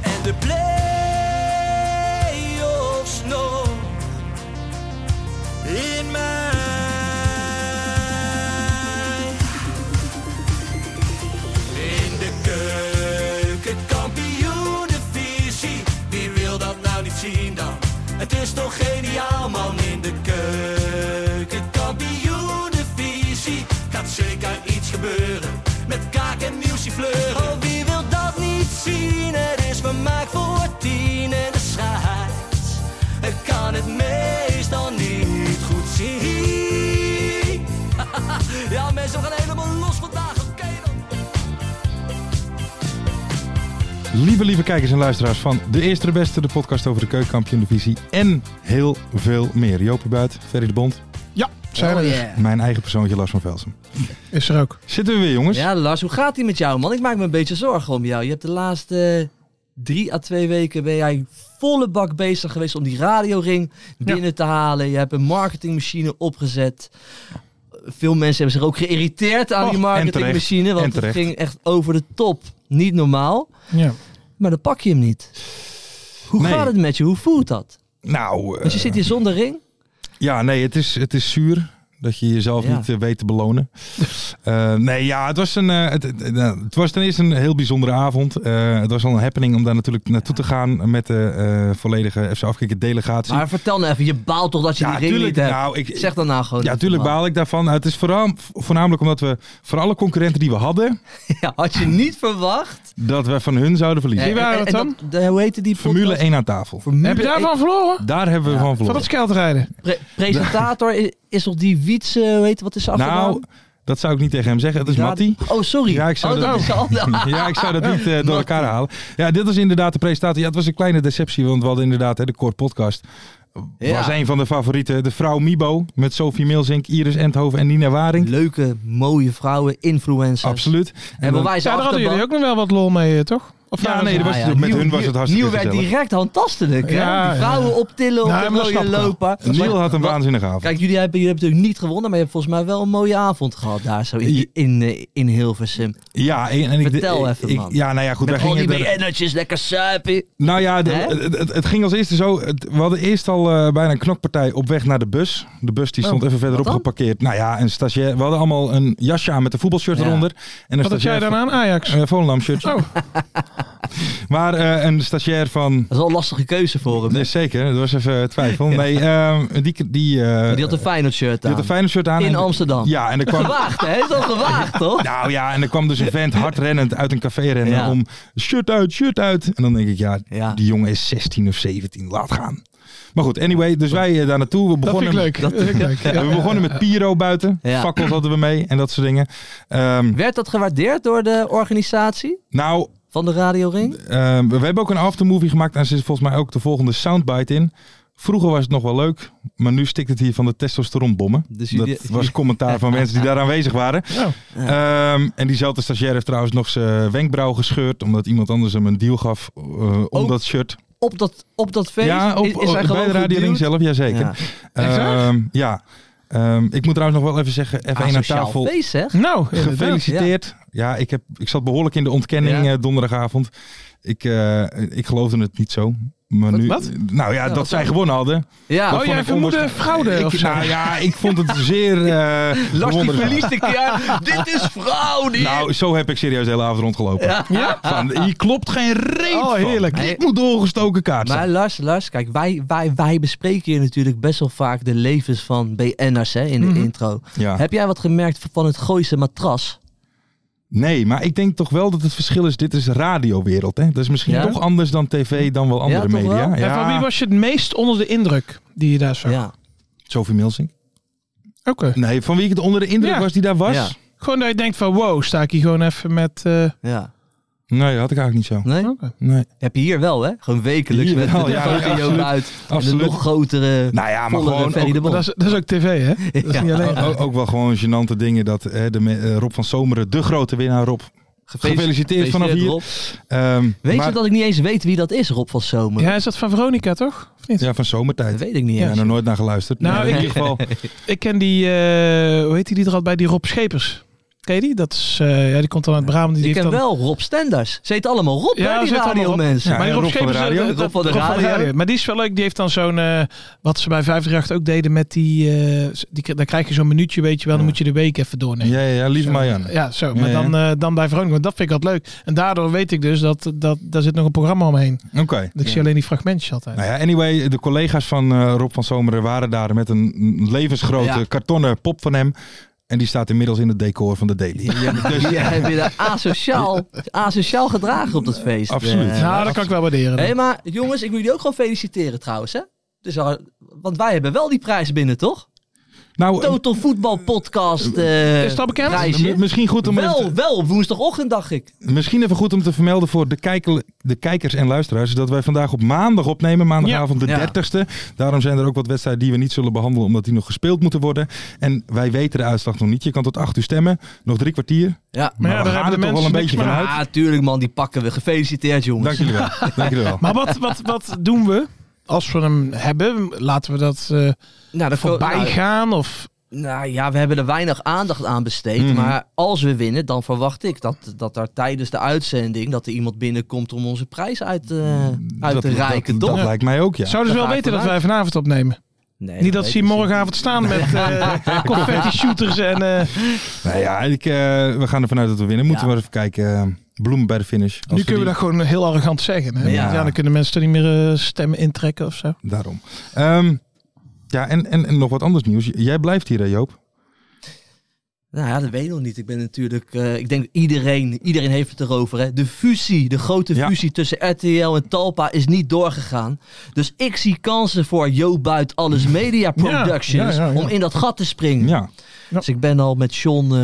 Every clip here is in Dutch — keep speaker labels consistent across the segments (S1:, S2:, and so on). S1: En de play-offs nog
S2: In mij.
S1: in de keuken, kampioenenvisie. Wie wil dat nou niet zien dan? Het is toch geniaal man in de keuken, kampioenenvisie. Gaat zeker iets gebeuren met kaak en muziek fleuren. Oh, wie wil dat niet zien? Het is vermaakt voor tien en de scheids. Ik kan het meestal niet goed zien. Ja, mensen, we gaan helemaal los vandaag. Oké dan.
S3: Lieve, lieve kijkers en luisteraars van De Eerste de Beste, de podcast over de keukenkampioen-divisie en heel veel meer. Joopie Buit, Ferry de Bond,
S4: Ja,
S1: Oh,
S4: zijn we er.
S3: mijn eigen persoontje Lars van Velsen.
S4: Is er ook.
S3: Zitten we weer, jongens?
S1: Ja, Lars, hoe gaat ie met jou, man? Ik maak me een beetje zorgen om jou. Je hebt de laatste drie à twee weken ben jij volle bak bezig geweest om die radioring binnen te halen. Je hebt een marketingmachine opgezet. Veel mensen hebben zich ook geïrriteerd aan
S3: Och,
S1: die
S3: en
S1: marketingmachine,
S3: terecht. En
S1: want het
S3: terecht.
S1: ging echt over de top. Niet normaal,
S4: Ja.
S1: maar dan pak je hem niet. Hoe
S3: Nee.
S1: gaat het met je? Hoe voelt dat?
S3: Nou, eh,
S1: Want je zit hier zonder ring.
S3: ja, nee, het is, het is zuur dat je jezelf
S1: Ja.
S3: niet eh, weet te belonen. Eh, nee, ja, het was, een, eh, het, het- eh, nou, het was ten eerste een heel bijzondere avond. Eh, het was al een happening om daar natuurlijk naartoe te gaan met de eh, volledige FC Afkikken delegatie.
S1: Maar vertel nou even, je baalt toch dat je die ring
S3: tuurlijk,
S1: niet hebt?
S3: nou, ik,
S1: zeg dan nou gewoon.
S3: Ja,
S1: even
S3: natuurlijk
S1: normaal.
S3: baal ik daarvan. Nou, Het is vooral, voornamelijk omdat we voor alle concurrenten die we hadden,
S1: Ja, had je niet verwacht.
S3: dat we van hun zouden verliezen.
S4: Wie waren
S1: En- en
S4: dat dan?
S1: dat- de- hoe heette die
S3: Formule
S1: podcast?
S3: 1 aan tafel.
S1: Formule
S4: Heb je
S1: 1.
S4: daarvan verloren?
S3: Daar hebben we van
S4: Van
S3: verloren.
S4: het skeldrijden?
S1: Pre- presentator is, is toch die Wietse, hoe heet wat is zijn achternaam?
S3: nou, dat zou ik niet tegen hem zeggen. Het is
S1: Ja,
S3: Matty.
S1: Oh, sorry.
S3: Ja, ik zou
S1: oh,
S3: dat-
S1: is al-
S3: Ja, ik zou dat niet eh, door elkaar halen. Ja, dit was inderdaad de presentatie. Ja, het was een kleine deceptie, want we hadden inderdaad hè, de Core Podcast.
S1: Ja.
S3: Was een van de favorieten. De vrouw Mibo met Sophie Milzink, Iris Endhoven en Nina Waring.
S1: Leuke, mooie vrouwen, influencers.
S3: Absoluut.
S1: En
S3: dan-
S1: waar wij
S4: Ja,
S1: zijn
S4: daar hadden jullie ook nog wel wat lol mee, eh, toch? Of
S3: Ja,
S4: waren
S3: nee,
S4: ze-
S3: dat was- met hun was het hartstikke
S1: Nieuw werd
S3: gezellig.
S1: direct handtastelijk. hè?
S4: Ja,
S1: die vrouwen
S4: ja.
S1: optillen op
S4: Nee,
S1: de
S4: maar dat
S1: mooie
S4: snap ik wel.
S1: lopen.
S3: Neil had een
S1: Maar-
S3: waanzinnige avond.
S1: Kijk, jullie hebben, jullie hebben natuurlijk niet gewonnen, maar je hebt volgens mij wel een mooie avond gehad daar zo in, in, eh, in Hilversum.
S3: ja, en, en ik,
S1: Vertel
S3: ik-
S1: even,
S3: ik-
S1: man.
S3: Ja, nou ja, goed.
S1: Met
S3: wij
S1: al die
S3: gingen er-
S1: BN'ertjes, lekker suipen.
S3: Nou ja, de-
S1: Hè?
S3: het, het- het ging als eerste zo. Het- we hadden eerst al eh, bijna een knokpartij op weg naar de bus. De bus die stond even verderop
S1: Oh, dan?
S3: geparkeerd. Nou ja, een stagiair. We hadden allemaal een jasje aan met een voetbalshirt
S1: Ja.
S3: eronder. En een
S4: Wat had jij
S3: stagiair
S4: dan
S3: van-
S4: aan? Ajax?
S3: eh, Volendam shirt.
S4: Oh.
S3: Maar eh, een stagiair van...
S1: Dat is wel een lastige keuze voor hem. hè?
S3: Nee, zeker, dat was even twijfel. Nee, ehm, die, die, eh,
S1: Die had een Feyenoord shirt
S3: die
S1: aan.
S3: had een Feyenoord shirt aan.
S1: in
S3: en-
S1: Amsterdam.
S3: Ja, en er kwam...
S1: Gewaagd, hè? Is dat gewaagd, toch?
S3: Nou ja, en er kwam dus een vent hardrennend uit een café rennen
S1: Ja.
S3: om shirt uit, shirt uit. En dan denk ik, ja,
S1: Ja.
S3: die jongen is 16 of 17, laat gaan. Maar goed, anyway, dus wij eh, daar naartoe. We
S4: Dat
S3: begonnen
S4: vind ik leuk. Dat vind ik leuk.
S3: Ja,
S4: Ja.
S3: we begonnen met Piro buiten.
S1: Ja.
S3: Fakkels hadden we mee en dat soort dingen. Ehm,
S1: Werd dat gewaardeerd door de organisatie
S3: nou,
S1: van de radioring?
S3: ehm, we hebben ook een aftermovie gemaakt. En er zit volgens mij ook de volgende soundbite in. Vroeger was het nog wel leuk, maar nu stikt het hier van de testosteronbommen.
S1: Dus
S3: Dat
S1: jullie-
S3: was commentaar van mensen die daar aanwezig waren.
S4: Ja.
S3: Ehm, en diezelfde stagiair heeft trouwens nog zijn wenkbrauw gescheurd, omdat iemand anders hem een deal gaf eh, om
S1: Ook
S3: dat shirt.
S1: Op dat, op dat feest
S3: ja, op,
S1: is, is hij
S3: op- bij
S1: gewoon
S3: de Radio Ring
S1: geduwd.
S3: zelf, jazeker.
S1: Ja.
S4: Echt waar?
S3: Ehm, ja. Ehm, ik moet trouwens nog wel even zeggen, F1 aan
S1: Asociaal
S3: tafel.
S1: Ah,
S3: Hm.
S1: feest, zeg.
S4: Nou, inderdaad.
S3: Gefeliciteerd. Ja, ik, heb, ik zat behoorlijk in de ontkenning
S1: Ja.
S3: eh, donderdagavond. Ik, eh, ik geloofde het niet zo. Maar nu,
S4: wat?
S3: Nou ja,
S1: Ja,
S3: dat
S1: wat
S3: zij
S1: dan?
S3: gewonnen hadden.
S1: Ja.
S4: Oh,
S3: vond
S4: jij
S3: ik
S4: vermoedde
S3: onwaarsch-
S4: fraude
S3: Ik-
S4: of zo?
S3: nou ja, ik vond het zeer eh
S1: Lars die
S3: bewonderenswaardig.
S1: verliest een keer. Dit is fraude.
S3: Nou, zo heb ik serieus de hele avond rondgelopen.
S1: Ja.
S3: Van, hier klopt geen reet
S4: Oh, heerlijk.
S3: Van. Ik moet doorgestoken kaart zijn.
S1: Maar Lars, Lars, kijk, wij, wij, wij bespreken hier natuurlijk best wel vaak de levens van BN'ers hè, in de intro.
S3: Mhm. Ja.
S1: Heb jij wat gemerkt van het Gooise matras?
S3: Nee, maar ik denk toch wel dat het verschil is. Dit is radiowereld. Hè? Dat is misschien
S1: Ja?
S3: toch anders dan tv, dan wel andere
S1: toch wel?
S3: media.
S1: En
S4: En van wie
S3: Ja.
S4: was je het meest onder de indruk die je daar zag?
S1: Ja.
S3: Sophie Milsing.
S4: Oké.
S3: Nee, van wie ik het onder de indruk
S4: Ja.
S3: was die daar was?
S1: Ja.
S4: Gewoon dat je denkt van wow, sta ik hier gewoon even met... eh,
S1: ja.
S3: Nee, had ik eigenlijk niet zo.
S1: Nee?
S4: oké.
S3: Nee.
S1: Heb je hier wel, hè? Gewoon wekelijks
S3: Hm? Hier
S1: met
S3: wel,
S1: de
S3: ja,
S1: grote
S3: absoluut.
S1: Joop uit. En de
S3: Absoluut.
S1: nog grotere,
S3: Nou ja, maar
S1: vollere
S3: gewoon
S1: Ferry
S3: ook-
S1: de Bol.
S4: Dat, is, dat is ook tv, hè? Dat is
S1: Ja.
S4: niet alleen.
S3: Ook, ook- ook wel gewoon gênante dingen dat hè, de, me- eh, Rob van Zomeren, de grote winnaar Rob. Gefeliciteerd vanaf hier.
S1: Rob.
S3: Ehm,
S1: Weet
S3: maar-
S1: je dat ik niet eens weet wie dat is, Rob van Zomer?
S4: Ja, is dat van Veronica, toch? Of niet?
S3: Ja, van
S1: Dat
S3: zomertijd.
S1: weet ik niet
S3: Ja,
S1: eens.
S3: nog nooit naar geluisterd.
S4: Nou,
S3: Maar in
S4: ik-
S3: ieder geval.
S4: Ik ken die, eh, hoe heet die, die er al bij? Die Rob Schepers. Ken je die? Dat is, eh, ja, die komt dan uit Brabant. Die
S1: ik
S4: heeft
S1: ken
S4: dan...
S1: wel Rob Stenders. Ze heet allemaal Rob,
S4: Ja,
S1: hè,
S4: ze
S1: die
S4: heet allemaal Rob.
S1: radiomensen.
S3: Ja,
S4: Maar die
S3: en
S4: Rob,
S3: Rob van de
S4: Schepers, eh,
S3: radio.
S4: dat-
S1: Rob van de
S4: Rob
S1: radio.
S4: Maar die is wel leuk. Die heeft dan zo'n, eh, wat ze bij 538 ook deden met die, eh, die daar krijg je zo'n minuutje, weet je wel. Dan moet je de week even doornemen.
S3: Ja, ja, ja, lieve Marianne.
S4: Ja, zo. Maar
S3: Ja, ja.
S4: dan, eh, dan bij Veronica. Want dat vind ik altijd leuk. En daardoor weet ik dus dat, dat daar zit nog een programma omheen.
S3: Oké.
S4: Want ik zie alleen die fragmentjes altijd.
S3: Nou ja, anyway, de collega's van eh, Rob van Zomeren waren daar met een levensgrote
S1: Ja.
S3: kartonnen pop van hem. En die staat inmiddels in het decor van de Daily. Dus,
S1: Die eh, hebben weer asociaal, asociaal gedragen op dat feest.
S3: Absoluut.
S1: Eh,
S4: nou, dat kan ik wel waarderen.
S1: Hé, maar jongens, ik moet jullie ook gewoon feliciteren trouwens, hè? Dus, al- want wij hebben wel die prijs binnen, toch?
S3: Nou, eh,
S1: Total Voetbal Podcast eh,
S4: Is dat bekend?
S1: prijsje.
S3: m- misschien, goed om
S1: Wel,
S3: even,
S1: wel, op woensdagochtend dacht ik.
S3: misschien even goed om te vermelden voor de, kijkel- de kijkers en luisteraars. Dat wij vandaag op maandag opnemen. Maandagavond
S1: Ja. Ja.
S3: de 30ste. Daarom zijn er ook wat wedstrijden die we niet zullen behandelen. Omdat die nog gespeeld moeten worden. En wij weten de uitslag nog niet. Je kan tot 8 uur stemmen. Nog drie kwartier.
S1: Ja,
S3: Maar,
S4: ja,
S3: we
S4: daar
S3: gaan er
S4: hebben de
S3: toch wel
S4: mensen
S3: een
S4: niks
S3: beetje
S4: meer
S3: van uit.
S1: ah, tuurlijk man, die pakken we. Gefeliciteerd jongens.
S3: Dank jullie wel. Dank jullie wel.
S4: Maar wat, wat, wat doen we? Als we hem hebben, laten we dat eh,
S1: Nou, dat
S4: voorbij
S1: nou,
S4: gaan? Of
S1: nou ja, we hebben er weinig aandacht aan besteed.
S3: Mhm.
S1: Maar als we winnen, dan verwacht ik dat, dat daar tijdens de uitzending... dat er iemand binnenkomt om onze prijs uit, eh, uit
S3: Mm, Dat-
S1: te reiken,
S3: dat,
S1: toch?
S3: dat lijkt mij ook, ja.
S4: zouden ze
S1: daar
S4: wel
S1: ga
S4: weten
S1: ik
S4: dat wij vanavond opnemen?
S1: Nee,
S4: Niet
S1: dat
S4: dat
S1: weet
S4: ze hier
S1: ik
S4: morgenavond staan met eh confetti shooters en... eh,
S3: Nou ja, ik, eh, we gaan ervan uit dat we winnen. Moeten
S1: Ja.
S3: we maar even kijken. eh, bloemen bij de finish. Als
S4: nu kunnen we dat gewoon heel arrogant zeggen. Hè?
S1: Ja.
S4: Ja. dan kunnen mensen er niet meer eh, stemmen intrekken of zo.
S3: die- Daarom. Ehm, ja, en, en, en nog wat anders nieuws. Jij blijft hier, hè, Joop?
S1: Nou ja, dat weet ik nog niet. Ik ben natuurlijk, eh, ik denk iedereen, iedereen heeft het erover. Hè. De fusie, de grote
S3: Ja.
S1: fusie tussen RTL en Talpa is niet doorgegaan. Dus ik zie kansen voor Jo Buit Alles Media Productions
S4: ja, ja, ja.
S1: om in dat gat te springen.
S3: Ja.
S1: Dus ik ben al met John, eh,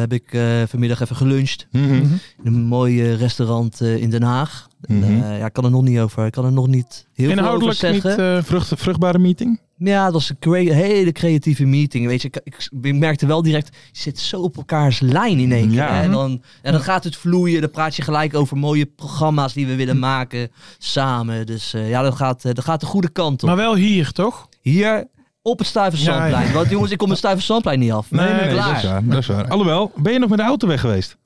S1: heb ik eh, vanmiddag even geluncht
S3: Mhm.
S1: in een mooi eh, restaurant eh, in Den Haag. En,
S3: Mhm.
S1: eh, ja, ik kan er nog niet over, ik kan er nog niet heel veel over
S4: Inhoudelijk niet...
S1: zeggen.
S4: eh,
S3: Vrucht, vruchtbare meeting?
S1: Ja, dat was een crea- hele creatieve meeting. Weet je, ik, ik, ik merkte wel direct, je zit zo op elkaars lijn in één keer.
S3: Mhm. Ja.
S1: hè. En
S4: Mhm.
S1: dan, en dan gaat het vloeien, dan praat je gelijk over mooie programma's die we willen
S3: Mhm.
S1: maken samen. Dus eh, ja, dat gaat, eh, dat gaat de goede kant op.
S4: maar wel hier, toch?
S1: Hier op het Stuyvesantplein.
S4: Ja, ja.
S1: Want jongens, ik kom het Stuyvesantplein niet af.
S4: Nee, nee, nee,
S1: Klaar.
S3: dat is waar. Dat is waar. Alhoewel, ben je nog met de auto weg geweest?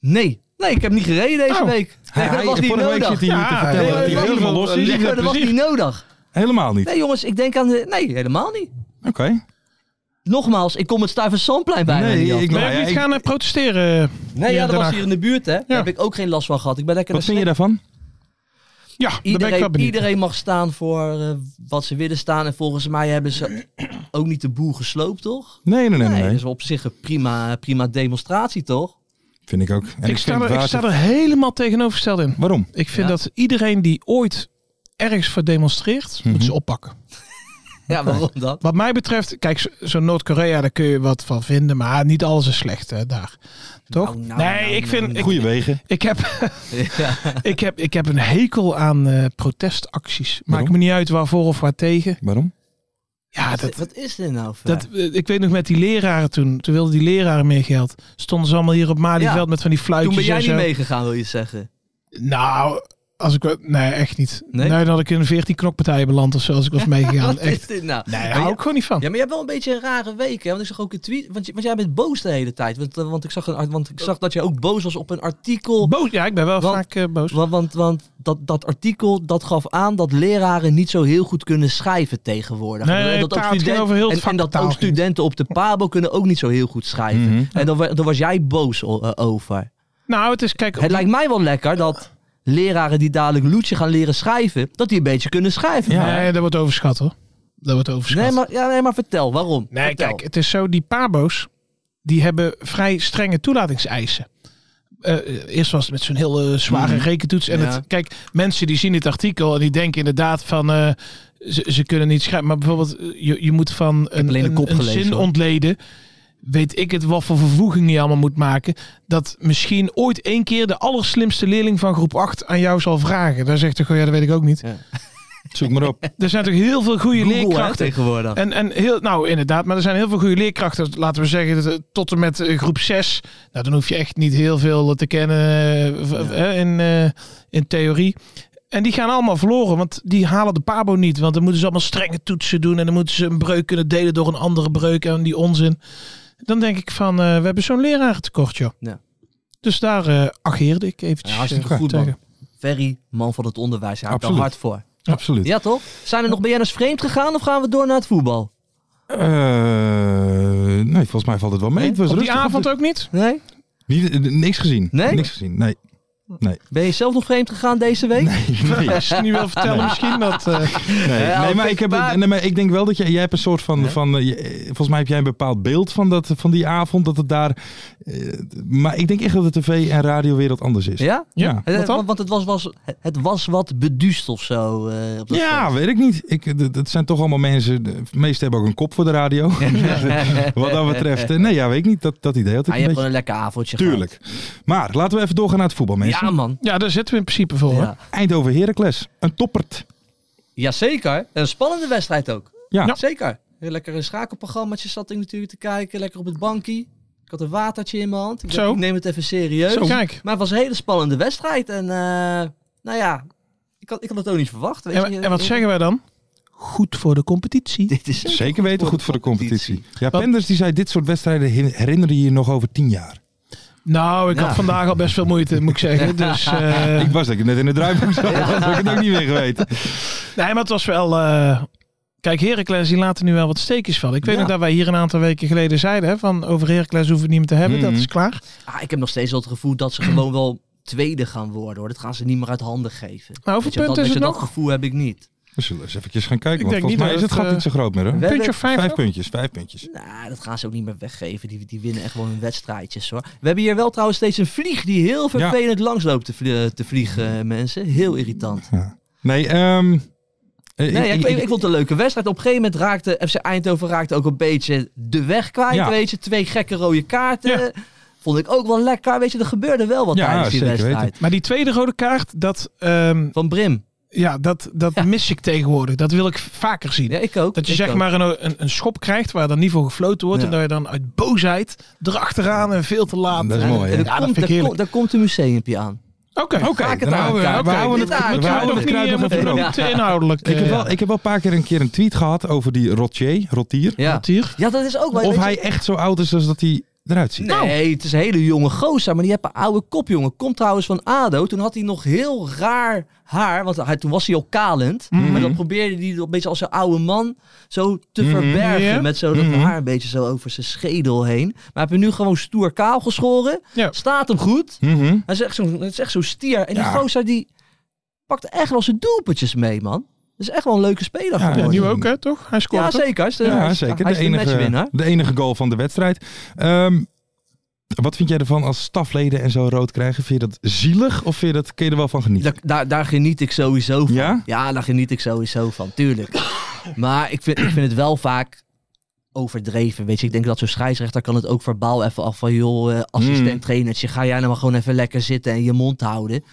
S1: Nee, nee, ik heb niet gereden deze
S4: Oh.
S1: week. Nee, dat was niet
S3: vorige week zit
S1: nodig.
S3: hij hier
S4: Ja,
S3: te
S4: ja,
S3: vertellen
S1: ja,
S3: dat hij
S1: ja,
S3: helemaal
S4: ja,
S3: los is.
S4: ja,
S1: Nee, dat was
S4: plezier.
S1: niet nodig.
S3: Helemaal niet.
S1: Nee jongens, ik denk aan de... Nee, helemaal niet.
S3: Oké.
S1: Nogmaals, ik kom het Stuyvesantplein bijna
S3: Nee,
S1: niet af.
S3: ik-
S4: Ben
S3: Nou
S4: je
S3: ja,
S4: niet gaan eh, protesteren?
S1: Nee,
S4: Hier
S1: ja,
S4: in
S1: dat
S4: Den
S1: was
S4: Haag.
S1: hier in de buurt, hè? Daar heb ik ook geen last van gehad. Ik ben lekker
S3: Wat
S1: naar
S3: vind je daarvan?
S4: Ja, daar ben ik wel
S1: Iedereen,
S4: benieuwd.
S1: iedereen mag staan voor eh, wat ze willen staan. En volgens mij hebben ze ook niet de boel gesloopt, toch?
S3: Nee, nee, nee. nee,
S1: dat
S3: nee.
S1: is op zich een prima, prima demonstratie, toch?
S3: Vind ik ook. En
S4: Ik
S3: vind
S4: sta,
S3: het
S4: er, ik
S3: water-
S4: sta er helemaal tegenovergesteld in.
S3: Waarom?
S4: Ik vind
S1: Ja.
S3: Mhm.
S4: dat iedereen die ooit ergens voor demonstreert, moet ze oppakken.
S1: Ja, waarom dat?
S4: Wat mij betreft, kijk, zo- zo'n Noord-Korea, daar kun je wat van vinden. Maar niet alles is slecht hè, daar. Toch?
S1: Nou, nou,
S4: nee,
S1: nou,
S4: ik
S1: nou,
S4: vind. ik-
S3: Goede wegen.
S4: Ik heb,
S1: Ja.
S4: ik, heb, ik heb een hekel aan eh, protestacties. Maakt
S3: Waarom?
S4: me niet uit waarvoor of waar tegen.
S3: Waarom?
S4: Ja, dat,
S1: Wat, wat is dit nou voor?
S4: dat, eh, ik weet nog met die leraren toen. Toen wilden die leraren meer geld. Stonden ze allemaal hier op Malieveld
S1: Ja.
S4: met van die fluitjes
S1: Toen ben jij
S4: en
S1: niet
S4: zo.
S1: meegegaan, wil je zeggen.
S4: Nou, als ik... wel- Nee, echt niet.
S1: Nee?
S4: Nee? dan had ik in een 14 knokpartijen beland of zo als ik was meegegaan.
S1: Wat is
S4: echt.
S1: dit nou?
S4: Nee,
S1: Maar
S4: daar hou
S1: jij-
S4: ik gewoon niet van.
S1: Ja, maar je hebt wel een beetje een rare week, hè? Want ik zag ook een tweet. Want, je- want jij bent boos de hele tijd. Want, eh, want, ik zag een, art- want ik zag dat jij ook boos was op een artikel.
S4: Boos, ja, ik ben wel
S1: Want-
S4: vaak eh, boos.
S1: Want, want, want dat, dat artikel dat gaf aan dat leraren niet zo heel goed kunnen schrijven tegenwoordig.
S4: Nee,
S1: En dat
S4: taal, het ging over heel het
S1: en, en
S4: vak
S1: dat
S4: taal
S1: ook
S4: ging.
S1: studenten op de Pabo kunnen ook niet zo heel goed schrijven.
S3: Mhm.
S1: En dan, wa- dan was jij boos o- eh, over.
S4: Nou, het is... Kijk,
S1: Het lijkt mij wel lekker dat leraren die dadelijk Loetje gaan leren schrijven, dat die een beetje kunnen schrijven.
S4: Nee, dat wordt overschat hoor. Dat wordt overschat.
S1: Nee, maar, ja, nee, maar vertel, waarom?
S4: Nee,
S1: Vertel.
S4: kijk, het is zo, die pabo's, die hebben vrij strenge toelatingseisen. Eh, eerst was het met zo'n heel eh, zware rekentoets. En
S1: Mhm. Ja.
S4: het, kijk, mensen die zien dit artikel en die denken inderdaad van... eh, ze, ze kunnen niet schrijven. Maar bijvoorbeeld, eh, je, je moet van een,
S1: alleen de
S4: een-
S1: kop
S4: een
S1: gelezen,
S4: zin
S1: hoor.
S4: ontleden... weet ik het wat voor vervoeging je allemaal moet maken... dat misschien ooit één keer de allerslimste leerling van groep 8 aan jou zal vragen. Daar zegt hij gewoon, ja, dat weet ik ook niet.
S3: Zoek maar op.
S4: Er zijn natuurlijk heel veel goede
S1: Google, hè,
S4: leerkrachten.
S1: tegenwoordig.
S4: En, en heel, nou inderdaad, maar er zijn heel veel goede leerkrachten. Laten we zeggen, dat, eh, tot en met eh, groep 6. Nou, dan hoef je echt niet heel veel te kennen eh, v- v- eh, in, eh, in theorie. En die gaan allemaal verloren, want die halen de Pabo niet. Want dan moeten ze allemaal strenge toetsen doen. En dan moeten ze een breuk kunnen delen door een andere breuk. En die onzin. Dan denk ik van, eh, we hebben zo'n lerarentekort, joh.
S1: Ja.
S4: Dus daar eh ageerde ik eventjes.
S1: Ja, hartstikke
S4: eh,
S1: goed, man.
S4: tegen.
S1: Ferry, man van het onderwijs, hij houdt er
S3: Absoluut.
S1: hard voor.
S3: Absoluut.
S1: Ja, toch? Zijn er nog BN'ers vreemd gegaan of gaan we door naar het voetbal?
S3: Eh, nee, volgens mij valt het wel mee.
S1: Nee?
S3: Het was
S4: Op die
S3: rustig.
S4: avond ook niet?
S1: Nee?
S3: Niet- eh, niks gezien.
S1: Nee?
S3: Niks gezien. Nee.
S1: Ben je zelf nog vreemd gegaan deze week?
S3: Nee. Nee.
S4: Als je het nu
S1: Ah,
S4: wil vertellen, misschien dat... eh,
S3: Nee,
S1: Ja,
S3: nee, maar
S1: oké,
S3: ik heb,
S1: maar-
S3: nee, maar ik denk wel dat jij, jij hebt een soort van, van eh, je- eh, volgens mij heb jij een bepaald beeld van, dat, van die avond, dat het daar, eh, maar ik denk echt dat de tv- en radiowereld anders is.
S1: Ja?
S3: Ja.
S1: Eh,
S4: Wat dan?
S1: Want, want het was, was, het was wat beduust of zo. eh, op dat
S3: Ja, weet ik niet. Ik, d- dat zijn toch allemaal mensen, de meesten hebben ook een kop voor de radio, wat dat betreft. eh, Nee, ja, weet ik niet, dat, dat idee had ik
S1: Ah, je hebt
S3: een beetje.
S1: gewoon een lekker avondje
S3: Tuurlijk. Maar laten we even doorgaan naar het voetbal,
S1: gehad.
S3: mensen.
S1: Ja, man.
S4: ja, daar zitten we in principe voor. hoor.
S1: Ja.
S3: Eindhoven Heracles, een toppert.
S1: Jazeker. Een spannende wedstrijd ook.
S3: Ja.
S1: Zeker. Heel lekker een schakelprogrammaatje zat ik natuurlijk te kijken. Lekker op het bankje. Ik had een watertje in mijn hand. Ik, dacht,
S4: Zo.
S1: ik neem het even serieus.
S4: Zo, kijk.
S1: Maar het was een hele spannende wedstrijd. En eh, nou ja, ik had, ik had het ook niet verwacht. Weet
S4: En,
S1: je. eh,
S4: en wat zeggen wij dan? Goed voor de competitie.
S1: Dit is
S3: Zeker weten, goed voor de competitie. Ja, Penders die zei, dit soort wedstrijden hin- herinneren je je nog over tien jaar.
S4: Nou, ik
S1: Ja.
S4: had vandaag al best veel moeite, moet ik zeggen. Dus, eh,
S3: Ik was dat ik net in de druiven zat, dat had ik het ook niet meer geweten.
S4: nee, maar het was wel... eh, kijk, Heracles die laten nu wel wat steekjes vallen. Ik weet
S3: Ja.
S4: nog dat wij hier een aantal weken geleden zeiden... Hè, van over Heracles hoeven we het niet meer te hebben.
S3: Mhm.
S4: Dat is klaar.
S1: Ah, ik heb nog steeds wel het gevoel dat ze gewoon wel tweede gaan worden. Hoor. Dat gaan ze niet meer uit handen geven.
S4: Maar hoeveel
S1: Weet je, dat,
S4: punten is
S1: weet
S4: het
S1: je,
S4: nog?
S1: dat gevoel heb ik niet.
S3: We zullen eens eventjes gaan kijken,
S4: Ik
S3: want
S4: denk
S3: volgens
S4: niet
S3: mij is
S4: dat
S3: het
S4: het,
S3: gat niet zo groot meer hoor.
S1: Wel-
S4: Puntje of vijf?
S3: Vijf
S4: nog?
S3: puntjes, vijf puntjes.
S1: Nou, dat gaan ze ook niet meer weggeven. Die, die winnen echt gewoon hun wedstrijdjes hoor. We hebben hier wel trouwens steeds een vlieg die heel vervelend langs loopt te, vlie- te vliegen, eh, mensen. Heel irritant.
S3: Nee, ehm... eh,
S1: Nee, ik, ik, ik vond het een leuke wedstrijd. Op een gegeven moment raakte FC Eindhoven raakte ook een beetje de weg kwijt.
S3: Ja.
S1: Weet je, twee gekke rode kaarten.
S4: Ja.
S1: Vond ik ook wel lekker. Weet je, er gebeurde wel wat
S3: Ja,
S1: tijdens die
S3: zeker
S1: wedstrijd.
S3: weten.
S4: Maar die tweede rode kaart, dat, ehm,
S1: Van Brim.
S4: ja, dat, dat mis ik tegenwoordig. Dat wil ik vaker zien.
S1: Ja, ik ook.
S4: Dat je
S1: ik
S4: zeg
S1: ook.
S4: maar een, een, een schop krijgt waar dan niet voor gefloten wordt.
S1: Ja.
S4: En dat je dan uit boosheid erachteraan en veel te laat.
S3: Dat is mooi, hè?
S1: En
S4: Ja,
S1: er
S4: dat
S1: komt-
S4: vind ik
S1: daar komt-
S4: heerlijk.
S1: Daar komt een museumpje aan.
S4: Oké.
S3: Oké,
S1: Vaak het
S3: dan houden we-
S1: aankaarten.
S3: we houden
S1: Dit
S3: het- we
S1: aan-
S4: Moeten we
S3: houden
S4: nog
S3: het
S4: niet,
S3: kruid
S4: eh,
S3: nog op
S4: moeten
S3: het
S4: we
S3: brood.
S4: nog te inhoudelijk.
S3: Ik heb,
S4: eh,
S3: wel, ik heb wel een paar keer een, keer een tweet gehad over die Rotier, Rotier.
S1: Ja.
S4: Tier.
S1: ja, dat is ook wel...
S3: Of
S1: weet je-
S3: hij echt zo oud is als dat hij eruit ziet.
S1: Nee, het is een hele jonge gozer, maar die heeft een oude kop, jongen. Komt trouwens van ADO. Toen had hij nog heel raar haar, want hij, toen was hij al kalend. Maar dan probeerde hij een beetje als een oude man zo te verbergen.
S4: Ja.
S1: Met zo dat haar een beetje zo over zijn schedel heen. Maar hij heeft hem nu gewoon stoer kaal geschoren.
S4: Ja.
S1: Staat hem goed.
S3: Mhm.
S1: Hij is echt zo'n het is echt zo'n stier. En
S3: Ja.
S1: die gozer die pakt echt wel zijn doelpuntjes mee, man. Dat is echt wel een leuke speler geworden.
S4: Ja, nu ook, hè, toch? Hij scoort.
S1: Ja,
S4: toch?
S1: zeker. Hij is de-
S3: Ja,
S1: hij is-
S3: zeker.
S1: Hij is
S3: De
S1: de,
S3: enige,
S1: matchwinnaar.
S3: de enige goal van de wedstrijd. Ehm, wat vind jij ervan als stafleden en zo rood krijgen? Vind je dat zielig of vind je dat, kun je er wel van genieten?
S1: Daar, daar, daar geniet ik sowieso van.
S3: Ja?
S1: daar geniet ik sowieso van, tuurlijk. Maar ik vind, ik vind het wel vaak overdreven. Weet je, ik denk dat zo'n scheidsrechter kan het ook verbaal even af van... joh,
S4: Mm.
S1: eh, assistent trainertje, ga jij nou maar gewoon even lekker zitten en je mond houden.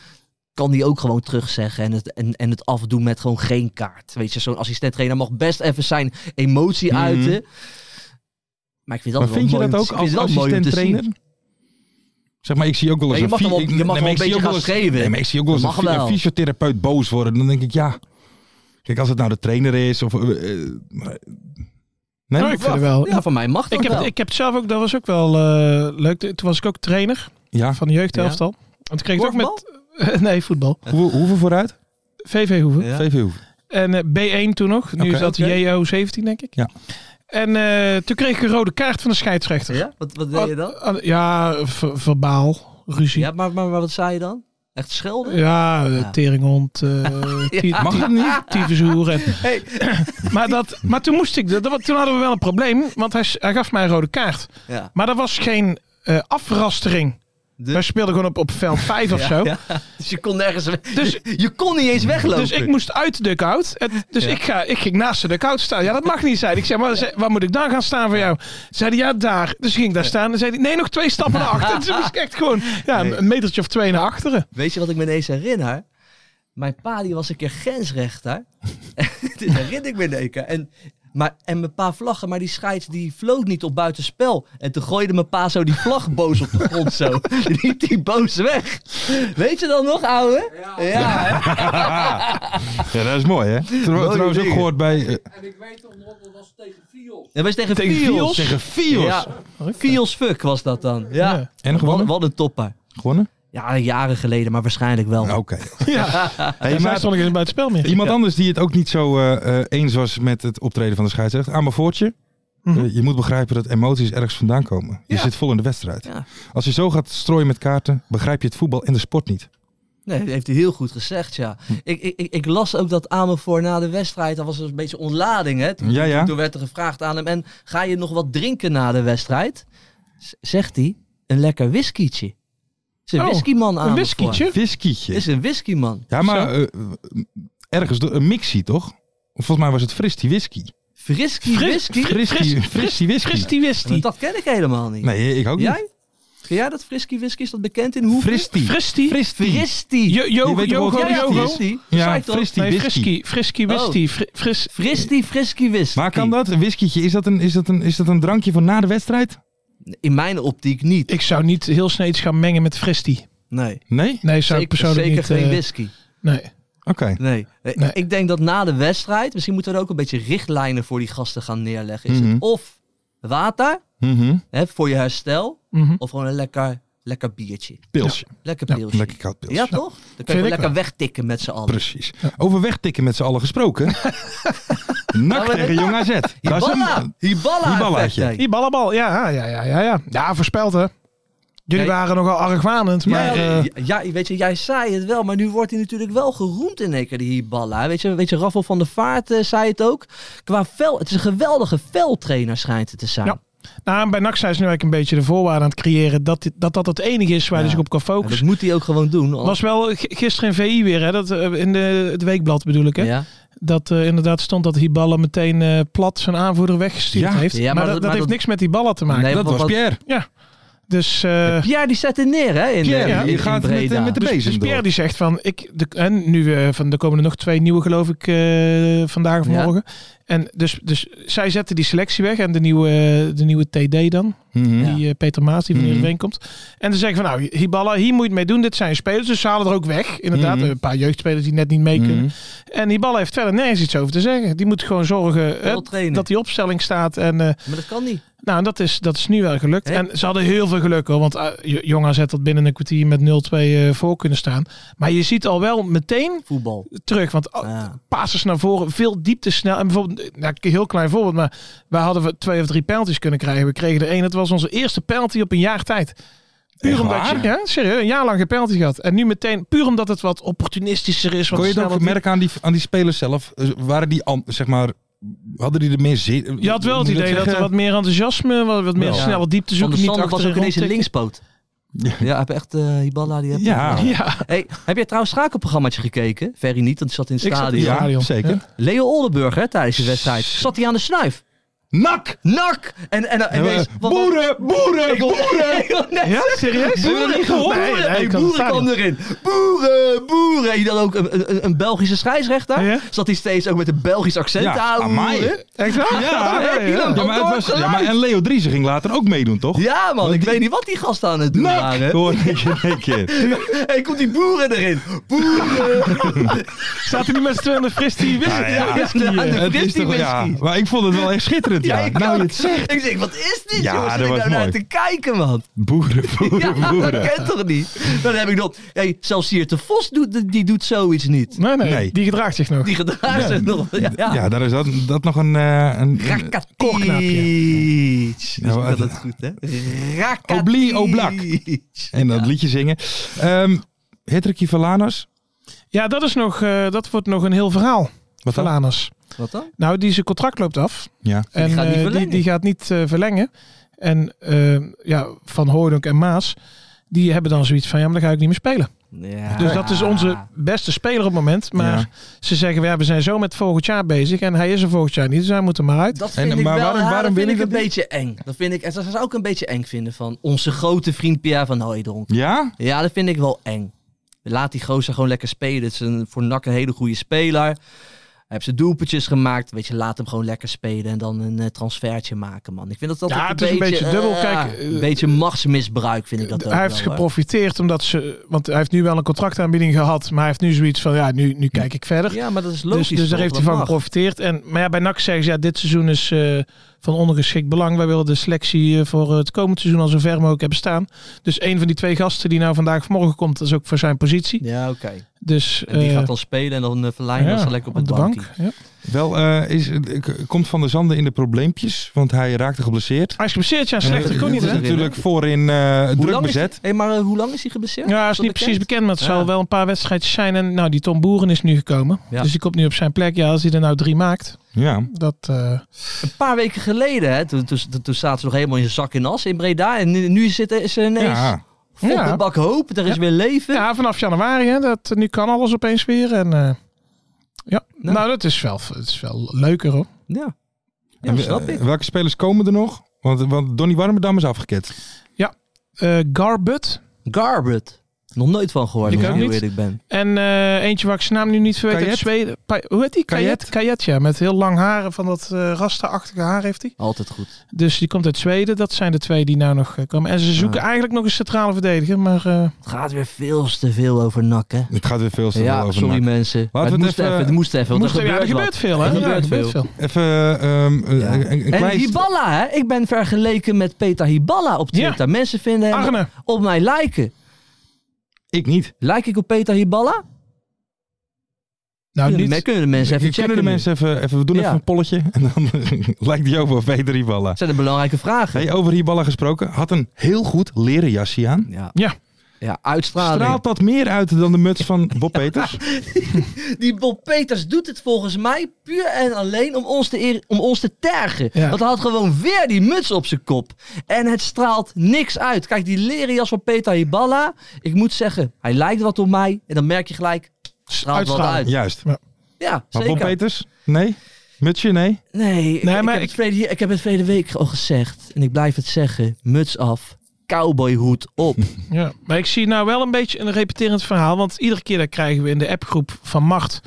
S1: Kan die ook gewoon terugzeggen en het, en, en het afdoen met gewoon geen kaart. Weet je, zo'n assistent trainer mag best even zijn emotie
S3: Mhm.
S1: uiten. Maar ik vind dat
S3: Maar
S1: wel
S3: vind je
S1: mooi
S3: dat
S1: om-
S3: ook
S1: ik vind
S3: als
S1: het wel mooi om
S3: assistent
S1: te zien.
S3: trainer? Zeg maar, ik zie ook wel eens
S1: Ja, je mag
S3: een,
S1: hem
S3: fy-
S1: wel-
S3: ik-
S1: je mag
S3: nee, maar
S1: hem
S3: ik
S1: wel
S3: zie
S1: een
S3: ook
S1: beetje
S3: eens-
S1: gaan schreeuwen.
S3: Nee, maar ik zie ook wel eens
S1: Dat
S3: een,
S1: mag
S3: fy-
S1: wel.
S3: een fysiotherapeut boos worden. Dan denk ik, ja... Kijk, als het nou de trainer is of... eh, eh, maar- nee,
S4: Nou, ik vind het wel.
S1: Ja, van mij mag dat
S4: Ik heb,
S1: wel.
S4: ik heb het zelf ook, dat was ook wel eh, leuk. Toen was ik ook trainer
S3: Ah. ja.
S4: van de jeugdhelftal. Want ik kreeg het ook met. Nee, voetbal.
S3: Hoe, hoeveel vooruit?
S4: VV Hoeven.
S1: Ja.
S3: VV hoeveel?
S4: En eh, B1 toen nog. Nu
S3: Oké.
S4: is dat
S3: Oké.
S4: JO17, denk ik.
S3: Ja.
S4: En eh, toen kreeg ik een rode kaart van de scheidsrechter.
S1: Ja? Wat, wat deed je dan?
S4: Ah, ja, ver- verbaal. Ruzie.
S1: Ja,
S4: Ja,
S1: maar, maar, maar wat zei je dan? Echt schelden?
S4: eh,
S1: Ja.
S4: teringhond. eh ti-
S3: Mag dat niet?
S4: tyfushoer en- maar, dat, maar toen moest ik... Dat, dat- toen hadden we wel een probleem, want hij, s- hij gaf mij een rode kaart.
S1: Ja.
S4: Maar dat was geen eh, afrastering.
S1: De-
S4: Wij speelden gewoon op, op veld 5 of zo.
S1: Ja. Dus je kon nergens weg.
S4: Dus-
S1: je kon niet eens weglopen.
S4: Dus ik moest uit de dugout. Het- Dus
S1: Ja.
S4: ik, ga, ik ging naast de dugout staan. Ja, dat mag niet zijn. Ik zei, maar, ze- waar moet ik dan gaan staan voor jou? Zei hij, ja, daar. Dus ging ik daar staan. En zei hij, nee, nog twee stappen naar achteren. Dus toen moest ik echt gewoon ja,
S1: Nee.
S4: een metertje of twee naar achteren.
S1: Weet je wat ik me ineens herinner? Mijn pa die was een keer grensrechter. Dit herinner ik me in één keer. En, maar, en mijn pa vlaggen, maar die scheids die floot niet op buitenspel. En toen gooide mijn pa zo die vlag boos op de grond zo. Die liep die boos weg. Weet je dan nog, ouwe? Ja. hè?
S3: Ja, dat is mooi, hè? Trouw- trouwens ook
S1: dingen.
S3: gehoord bij... eh,
S1: Dat was tegen
S3: tegen
S1: Fios.
S3: Fios. Tegen Fios.
S1: Ja, Fios fuck was dat dan. Ja.
S4: Ja.
S3: En
S1: Wat,
S3: gewonnen?
S1: wat een topper.
S3: Gewonnen?
S1: Ja, jaren geleden, maar waarschijnlijk wel.
S3: Oh, Oké.
S4: Ja.
S3: Hey,
S4: en
S3: maar-
S4: daar stond ik eens bij het spel meer.
S3: Iemand anders die het ook niet zo eh, eh, eens was met het optreden van de scheidsrechter. Aan mijn voortje.
S4: Mhm.
S3: Eh, je moet begrijpen dat emoties ergens vandaan komen. Je
S1: Ja.
S3: zit vol in de wedstrijd.
S1: Ja.
S3: Als je zo gaat strooien met kaarten, begrijp je het voetbal en de sport niet.
S1: Nee, dat heeft hij heel goed gezegd, ja.
S4: Hm.
S1: Ik, ik, ik, ik las ook dat Amervoor na de wedstrijd, dat was een beetje ontlading, hè. Toen,
S3: Ja, ja.
S1: toen werd er gevraagd aan hem, en ga je nog wat drinken na de wedstrijd? Z- zegt hij, een lekker whiskietje. Is een
S4: Oh,
S1: whiskyman aan
S4: Een whiskietje.
S3: Whiskietje.
S1: Is een whiskyman.
S3: Ja, maar eh, ergens door een mixie, toch? Of Volgens mij was het fris die whisky.
S1: Frisky
S4: Fris-
S1: whisky?
S4: fris-
S3: Fristie
S4: fris-
S3: fristie whisky.
S4: Christy wist die.
S1: Dat ken ik helemaal niet.
S3: Nee, ik ook niet.
S1: Jij? Ken jij dat frisky whisky? Is dat bekend in hoe?
S3: Fristie.
S4: Fristie.
S3: Fristie.
S1: Fristie.
S4: Jo- Jogo,
S3: Je weet toch wel
S4: Jogo,
S1: Ja,
S3: wat
S1: ja,
S3: Fristie
S4: Jogo.
S1: Fristie.
S3: Ja,
S1: Zei ik toch?
S3: Fristie.
S4: Nee,
S3: whisky.
S4: Frisky. Frisky wist
S1: Oh.
S4: die. Fri- Fris...
S1: Fristie, frisky whisky.
S3: Maar kan dat? Een whiskietje, is dat een, is, dat een, is dat een drankje van na de wedstrijd?
S1: In mijn optiek niet.
S4: Ik zou niet heel sneeds gaan mengen met Fristie.
S1: Nee.
S3: Nee?
S4: Nee, zou ik
S1: Zeker,
S4: persoonlijk
S1: zeker
S4: niet...
S1: geen
S4: eh,
S1: whisky.
S4: nee.
S3: Oké.
S1: Nee. Eh,
S4: Nee.
S1: Ik denk dat na de wedstrijd, misschien moeten we er ook een beetje richtlijnen voor die gasten gaan neerleggen. Is
S3: Mhm.
S1: het of water
S3: Mhm.
S1: hè, voor je herstel,
S4: Mhm.
S1: of gewoon een lekker, lekker biertje.
S3: Pilsje.
S1: Lekker
S4: Ja,
S1: pilsje. Ja,
S3: Lekker koud pilsje.
S1: toch? Dan kun
S4: Vind
S1: je wel
S4: ik
S1: lekker
S4: wel.
S1: wegtikken met z'n allen.
S3: Precies. Over wegtikken met z'n allen gesproken. Nak tegen Jong AZ. Dat is
S1: Hiballa!
S4: eh,
S3: een-
S1: Hiballa!
S3: Hiballaatje.
S1: effect, hè.
S4: Die ballenbal, ja, ja, ja, ja, ja. Ja, voorspeld hè. Jullie
S1: Nee.
S4: waren nogal argwanend, maar...
S1: ja,
S4: eh,
S1: ja, ja, weet je, jij zei het wel, maar nu wordt hij natuurlijk wel geroemd in één keer, die Hiballa. Weet je, weet je Raffel van der Vaart eh, zei het ook. Qua vel, het is een geweldige veldtrainer schijnt het te zijn.
S4: Ja. nou, en bij NAC zijn ze nu eigenlijk een beetje de voorwaarden aan het creëren dat dit- dat, dat het enige is waar
S1: Ja.
S4: hij zich op kan
S1: En dat
S4: focussen.
S1: moet hij ook gewoon doen.
S4: was wel g- gisteren in VI weer, hè, dat, eh, in de, het weekblad bedoel ik, hè,
S1: ja.
S4: dat eh, inderdaad stond dat Hiballa meteen eh, plat zijn aanvoerder weggestuurd
S3: Ja.
S4: heeft.
S1: Ja, maar
S4: maar,
S1: dat-
S4: dat, dat
S1: maar
S4: heeft
S1: dat-
S4: niks met Hiballa te maken.
S1: Nee,
S3: Dat
S1: want-
S3: was
S1: want-
S3: Pierre.
S4: Dus, eh,
S1: Pierre die zet er neer, hè? In,
S3: Pierre,
S1: in-
S3: die
S1: in
S3: gaat met,
S1: Breda.
S3: eh, met de
S4: dus,
S3: bezem
S4: dus Pierre
S3: door.
S4: die zegt van, ik, de, en nu eh, van, er komen er nog twee nieuwe geloof ik eh, vandaag of
S1: Ja.
S4: morgen. En dus, dus zij zetten die selectie weg en de nieuwe, eh, de nieuwe TD dan.
S3: Mhm.
S1: Ja.
S4: Die eh, Peter Maas, die van
S3: Mhm.
S4: mm komt. En ze zeggen van nou, Hiballa, hier moet je het mee doen. Dit zijn spelers. Dus ze halen er ook weg. Inderdaad,
S3: Mhm.
S4: een paar jeugdspelers die net niet mee kunnen. En Hiballa heeft verder nergens iets over te zeggen. Die moet gewoon zorgen eh,
S1: Wel trainen.
S4: dat die opstelling staat. En eh,
S1: Maar dat kan niet.
S4: nou, en dat is, dat is nu wel gelukt.
S1: Hè?
S4: En ze hadden heel veel geluk hoor. Want uh, Jong AZ had binnen een kwartier met 0-2 eh, voor kunnen staan. Maar je ziet al wel meteen
S1: Voetbal.
S4: terug. Want al-
S1: Ja.
S4: passes naar voren, veel diepte snel. En bijvoorbeeld, eh, nou, een heel klein voorbeeld, maar wij hadden we twee of drie penalties kunnen krijgen. We kregen er één. Dat was onze eerste penalty op een jaar tijd. Puur
S3: Echt
S4: omdat
S3: waar?
S4: je, ja, serieus, een jaar lang geen penalty gehad. En nu meteen, puur omdat het wat opportunistischer is. Wat
S3: Kon je het ook
S4: sneller-
S3: merken aan die, aan die spelers zelf? Eh, Waren die, an- zeg maar, hadden die er meer zin?
S4: Je had wel het
S3: Moet ik
S4: idee dat er
S3: zeggen?
S4: wat meer enthousiasme, wat, wat meer
S3: Wel.
S4: snelle diepte
S1: Van
S4: zoeken.
S1: der
S4: Niet
S1: Sander was
S4: achter
S1: ook
S4: een
S1: ineens een
S4: rondtikken.
S1: linkspoot. Ja, hij heeft echt eh Hiballa. Die heeft
S3: Ja.
S4: Ja,
S1: Hey, heb jij trouwens schakelprogrammaatje gekeken? Ferry niet, want die zat in het
S4: ik zat in
S1: stadion.
S4: het stadion.
S3: zeker.
S4: Ja.
S1: Leo Oldenburg hè, tijdens de wedstrijd. Zat hij aan de snuif?
S3: Nak! Eh,
S1: Nak! En, en, en, ineens- want-
S3: boeren, boeren,
S1: Ik wil- Ik wil net
S4: Ja, serieus?
S1: Hebben we dat niet gehoord?
S4: Nee,
S1: Nee,
S4: nee, ik had het
S1: boeren kwam
S4: stadion.
S1: erin. Boeren, boeren. En je dan ook een, een, een Belgische scheidsrechter.
S4: Ja.
S1: Zat hij steeds ook met een Belgisch accent
S3: Ja,
S1: te houden.
S3: amai.
S1: boeren.
S4: Echt waar?
S3: Ja,
S4: ja, ja.
S3: Ja, maar het was, ja, maar en Leo Driessen ging later ook meedoen, toch?
S1: Ja man, ik weet niet wat die gasten aan het doen
S3: Nak!
S1: waren.
S3: Hoor ik in één keer.
S1: Hé, komt die boeren erin. Boeren.
S4: Zaten die met z'n tweeën aan de fris die wist
S3: Ja, ja.
S4: whisky, eh.
S1: Ja,
S3: Het is toch, ja, maar ik vond het wel echt schitterend, ja.
S1: ik
S3: nou,
S1: ook.
S3: je het zegt.
S1: Ik zeg, wat is dit
S3: Ja,
S1: jongens? Zit
S3: dat
S1: ik
S3: was
S1: nou naar
S3: mooi.
S1: te kijken man?
S3: Boeren, boeren,
S1: Ja, dat
S3: boeren.
S1: kent toch niet? Dan heb ik nog... Hey, zelfs Siert de Vos doet, die doet zoiets niet.
S4: Nee, nee,
S3: Nee.
S4: die gedraagt zich nog.
S1: Die gedraagt zich nog. Ja, ja.
S3: Ja, daar is dat, dat nog een... eh, een
S1: Rakitic.
S3: Ja, maar-
S1: dat is goed, hè? Rakitic.
S3: Obli Oblak. en dat liedje zingen. Ehm Hitler Kivalanos.
S4: Ja, dat, is nog, eh, dat wordt nog een heel verhaal.
S3: Wat dan?
S4: Valanus.
S1: Wat dan?
S4: Nou, die zijn contract loopt af.
S3: Ja.
S4: En
S1: Dus gaat niet
S4: eh, die,
S1: verlengen.
S4: die gaat niet eh, verlengen. En eh, ja, Van Hooydonk en Maas, die hebben dan zoiets van, ja, maar dan ga ik niet meer spelen.
S1: Ja.
S4: Dus dat is onze beste speler op het moment. Maar
S3: Ja.
S4: ze zeggen, ja, we zijn zo met volgend jaar bezig. En hij is er volgend jaar niet, dus hij moet er maar uit.
S1: Dat
S3: En-
S1: vind ik
S3: maar
S1: wel,
S3: waarom-
S1: ja,
S3: waarom
S1: dat vind
S3: wil
S1: ik
S3: je
S1: een
S3: dat
S1: beetje eng. Dat vind ik, en dat zou ik een beetje eng vinden van onze grote vriend Pierre van Hooijdonk.
S3: Ja?
S1: Ja, dat vind ik wel eng. Laat die gozer gewoon lekker spelen. Het is een, voor NAC een hele goede speler. Hij heeft zijn doelpuntjes gemaakt. Weet je, laat hem gewoon lekker spelen en dan een eh, transfertje maken, man. Ik vind dat altijd
S4: Ja,
S1: een
S4: het is een
S1: beetje...
S4: beetje dubbel.
S1: eh,
S4: Kijk, eh,
S1: een beetje machtsmisbruik vind ik dat ook
S4: Hij heeft
S1: wel, hoor.
S4: geprofiteerd omdat ze... Want hij heeft nu wel een contractaanbieding gehad. Maar hij heeft nu zoiets van, ja, nu, nu kijk ik verder.
S1: Ja, maar dat is
S4: Dus,
S1: logisch.
S4: dus daar
S1: toch?
S4: heeft hij
S1: Dat
S4: van
S1: mag.
S4: geprofiteerd. En, maar ja, bij NAC zeggen ze, ja, dit seizoen is eh, van ondergeschikt belang. Wij willen de selectie eh, voor het komend seizoen al zo ver mogelijk hebben staan. Dus een van die twee gasten die nou vandaag of morgen komt, dat is ook voor zijn positie.
S1: Ja, oké.
S4: Dus
S1: En die
S4: eh,
S1: gaat dan spelen en dan uh, verlijnen
S4: ja,
S1: ze lekker op, het
S4: de
S1: bankje.
S4: bank. Ja.
S3: Wel, eh, is, eh, k- komt Van der Zanden in de probleempjes, want hij raakte geblesseerd.
S4: Hij is geblesseerd, ja,
S1: dat
S4: slechter Ah,
S1: dat
S4: kon niet,
S3: Het
S4: hè?
S3: is natuurlijk voorin eh
S1: Hoe
S3: druk
S1: lang is
S3: bezet.
S1: die- Hey, maar eh, hoe lang is hij geblesseerd?
S4: Ja, is
S1: dat
S4: niet precies bekend, maar het
S1: Ja.
S4: zal wel een paar wedstrijdjes zijn. En nou, die Tom Boeren is nu gekomen.
S1: Ja.
S4: Dus die komt nu op zijn plek. Ja, als hij er nou drie maakt,
S3: Ja.
S4: dat... eh,
S1: Een paar weken geleden, hè, toen, toen, toen, toen zaten ze nog helemaal in zak en as in Breda. En nu, nu zitten, is er ineens
S3: ja.
S1: vol
S4: Ja.
S1: de bak hoop. Er is weer leven.
S4: Ja, vanaf januari. Hè, dat, nu kan alles opeens weer. En, eh, ja, nou,
S1: Nou.
S4: dat is wel, het is wel leuker hoor.
S1: Ja. Ja,
S3: En,
S1: snap
S3: eh,
S1: ik.
S3: Welke spelers komen er nog? Want, want Donny Warmerdam is afgeketst.
S4: Eh Garbut.
S1: Garbut. Nog nooit van gehoord,
S4: Ik
S1: als ik
S4: ook
S1: heel
S4: niet.
S1: eerlijk ben.
S4: En eh, eentje waar ik zijn naam nu niet verweet. Uit
S3: Kajet?
S4: Zweden. Pa- hoe heet die? Kajet.
S3: Kajet?
S4: Kajet, ja. Met heel lang haren van dat eh rasta-achtige haar heeft hij.
S1: Altijd goed.
S4: Dus die komt uit Zweden. Dat zijn de twee die nou nog eh, komen. En
S1: Ah.
S4: ze zoeken eigenlijk nog een centrale verdediger. Maar eh,
S1: Het gaat weer veel te veel over nakken.
S3: Het gaat weer veel te veel
S1: Ja,
S3: over.
S1: sorry
S3: NAC.
S1: mensen. Maar
S3: we
S1: Het
S3: het
S1: moest
S3: even-
S1: even. Het moest even. want
S4: moest er, ja, er
S1: wat.
S4: gebeurt veel hè.
S1: Er
S4: Ja,
S1: gebeurt veel.
S3: Even ehm, eh,
S1: Ja.
S3: een, een
S1: En
S3: klein...
S1: Hiballa, hè? ik ben vergeleken met Peter Hiballa op Twitter. Mensen vinden hem
S4: Arne.
S1: op mij liken.
S3: Ik niet.
S1: Like ik op Peter Hiballa?
S4: Nou,
S1: Kunnen de,
S4: niet.
S1: men- kunnen de mensen even checken?
S3: Kunnen de
S1: nu?
S3: mensen even, even... We doen
S1: Ja.
S3: even een polletje. En dan lijkt die over Peter Hiballa.
S1: Dat zijn de belangrijke vragen.
S3: Hey, over Hiballa gesproken. Had een heel goed leren jasje aan.
S1: Ja.
S4: Ja.
S1: ja, uitstraling.
S3: Straalt dat meer uit dan de muts van Bob Peters?
S1: Die Bob Peters doet het volgens mij puur en alleen om ons te, eer- om ons te tergen.
S4: Ja.
S1: Want hij had gewoon weer die muts op zijn kop. En het straalt niks uit. Kijk, die leren jas van Peter Hiballa. Ik moet zeggen, hij lijkt wat op mij. En dan merk je gelijk, straalt wat
S4: Uitstraling.
S1: uit. Ja,
S3: Juist. Maar Bob
S1: zeker.
S3: Peters? Nee? Mutsje? Nee?
S1: Nee, ik,
S4: Nee,
S1: ik heb
S4: maar ik-
S1: het verleden, hier- ik heb het verleden week al gezegd. En ik blijf het zeggen. Muts af, cowboyhoed op.
S4: Ja, maar ik zie nou wel een beetje een repeterend verhaal. Want iedere keer dan krijgen we in de appgroep van Macht.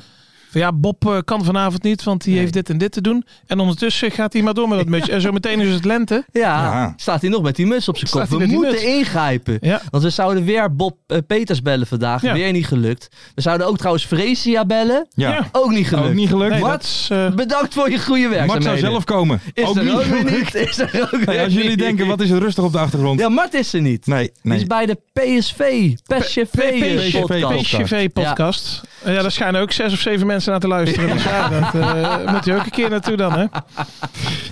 S4: Van ja, Bob eh, kan vanavond niet, want die
S1: Nee.
S4: heeft dit en dit te doen. En ondertussen gaat hij maar door met dat mutsje. En zo meteen is het lente.
S1: Ja,
S3: Ja.
S1: staat hij nog met die muts op zijn
S4: Staat
S1: kop.
S4: hij
S1: We
S4: met die
S1: moeten
S4: muts?
S1: ingrijpen.
S4: Ja.
S1: Want we zouden weer Bob eh, Peters bellen vandaag.
S4: Ja.
S1: Weer niet gelukt. We zouden ook trouwens Fresia bellen.
S3: Ja.
S4: Ja.
S1: Ook niet gelukt.
S3: Ook niet gelukt.
S4: Nee,
S3: Wat?
S4: dat is, eh,
S1: Bedankt voor je goede
S3: Mart
S1: werkzaamheden.
S3: zou zelf komen.
S1: is
S3: ook
S1: er
S3: niet
S1: ook weer
S3: gelukt.
S1: niet. Is er ook
S3: Hey,
S1: weer
S3: als jullie
S1: niet.
S3: denken, wat is er rustig op de achtergrond?
S1: Ja, Mart is er niet.
S3: Nee,
S1: Die
S3: nee.
S1: is bij de PSV. PSV
S4: PSV
S1: podcast.
S4: PSV-podcast. Ja. daar schijnen ook zes of zeven mensen naar te luisteren. Dus ja, dat eh, moet je ook een keer naartoe dan, hè?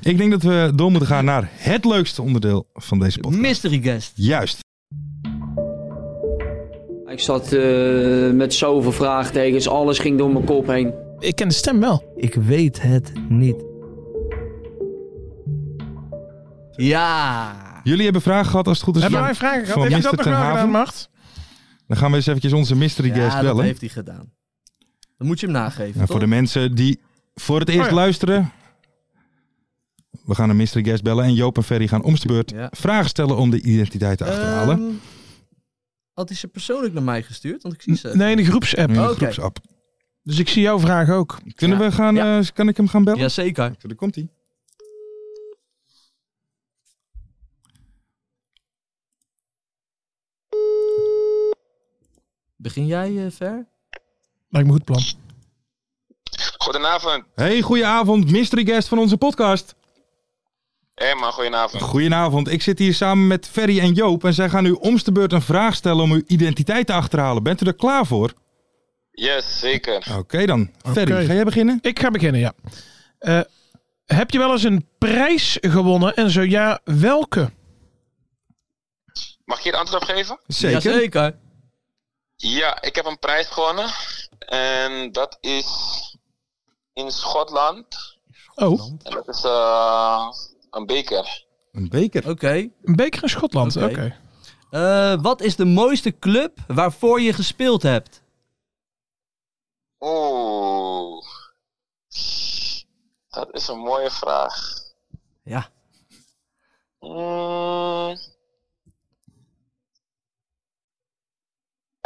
S3: Ik denk dat we door moeten gaan naar het leukste onderdeel van deze podcast.
S1: Mystery guest.
S3: Juist.
S5: Ik zat eh, met zoveel vraagtekens, alles ging door mijn kop heen.
S4: Ik ken de stem wel.
S1: Ik weet het niet. Ja.
S3: Jullie hebben vragen gehad als het goed is.
S4: Hebben
S3: van-
S4: wij vragen gehad?
S3: van
S4: Heb je dat
S3: Mr.
S4: nog
S3: Ten
S4: wel gedaan,
S3: Haven?
S4: Mart?
S3: Dan gaan we eens eventjes onze mystery guest
S1: Ja, dat
S3: bellen.
S1: heeft Oh hij gedaan. Dan moet je hem nageven.
S3: Nou,
S1: toch?
S3: voor de mensen die voor het eerst
S4: Oh ja.
S3: luisteren. We gaan een mystery guest bellen en Joop en Ferry gaan om de beurt
S1: Ja.
S3: vragen stellen om de identiteit te achterhalen.
S1: Ehm, had hij ze persoonlijk naar mij gestuurd? Want ik zie ze.
S4: Nee, in de groepsapp.
S3: In de
S1: oké.
S3: groepsapp.
S4: Dus ik zie jouw vraag ook.
S3: Kunnen we gaan,
S1: Ja.
S3: eh, kan ik hem gaan bellen?
S1: Jazeker.
S3: Daar komt hij.
S1: Begin jij, eh Ver?
S4: Lijkt me goed plan.
S6: Goedenavond.
S3: Hey, goedenavond, mystery guest van onze podcast.
S6: Hé man, goedenavond.
S3: Goedenavond, ik zit hier samen met Ferry en Joop en zij gaan u om de beurt een vraag stellen om uw identiteit te achterhalen. Bent u er klaar voor?
S6: Yes, zeker.
S3: Oké dan. Ferry,
S4: Oké.
S3: ga jij beginnen?
S4: Ik ga beginnen, ja. Eh, heb je wel eens een prijs gewonnen? En zo ja, welke?
S6: Mag ik hier antwoord op geven?
S3: Zeker.
S1: Jazeker.
S6: Ja, ik heb een prijs gewonnen. En dat is in Schotland.
S4: Oh,
S6: En dat is eh, een beker.
S3: Een beker.
S4: Eh,
S1: Oké.
S4: een beker in Schotland. Oké.
S1: Oké. Eh, wat is de mooiste club waarvoor je gespeeld hebt?
S6: Oeh. Dat is een mooie vraag.
S1: Ja.
S6: Mm.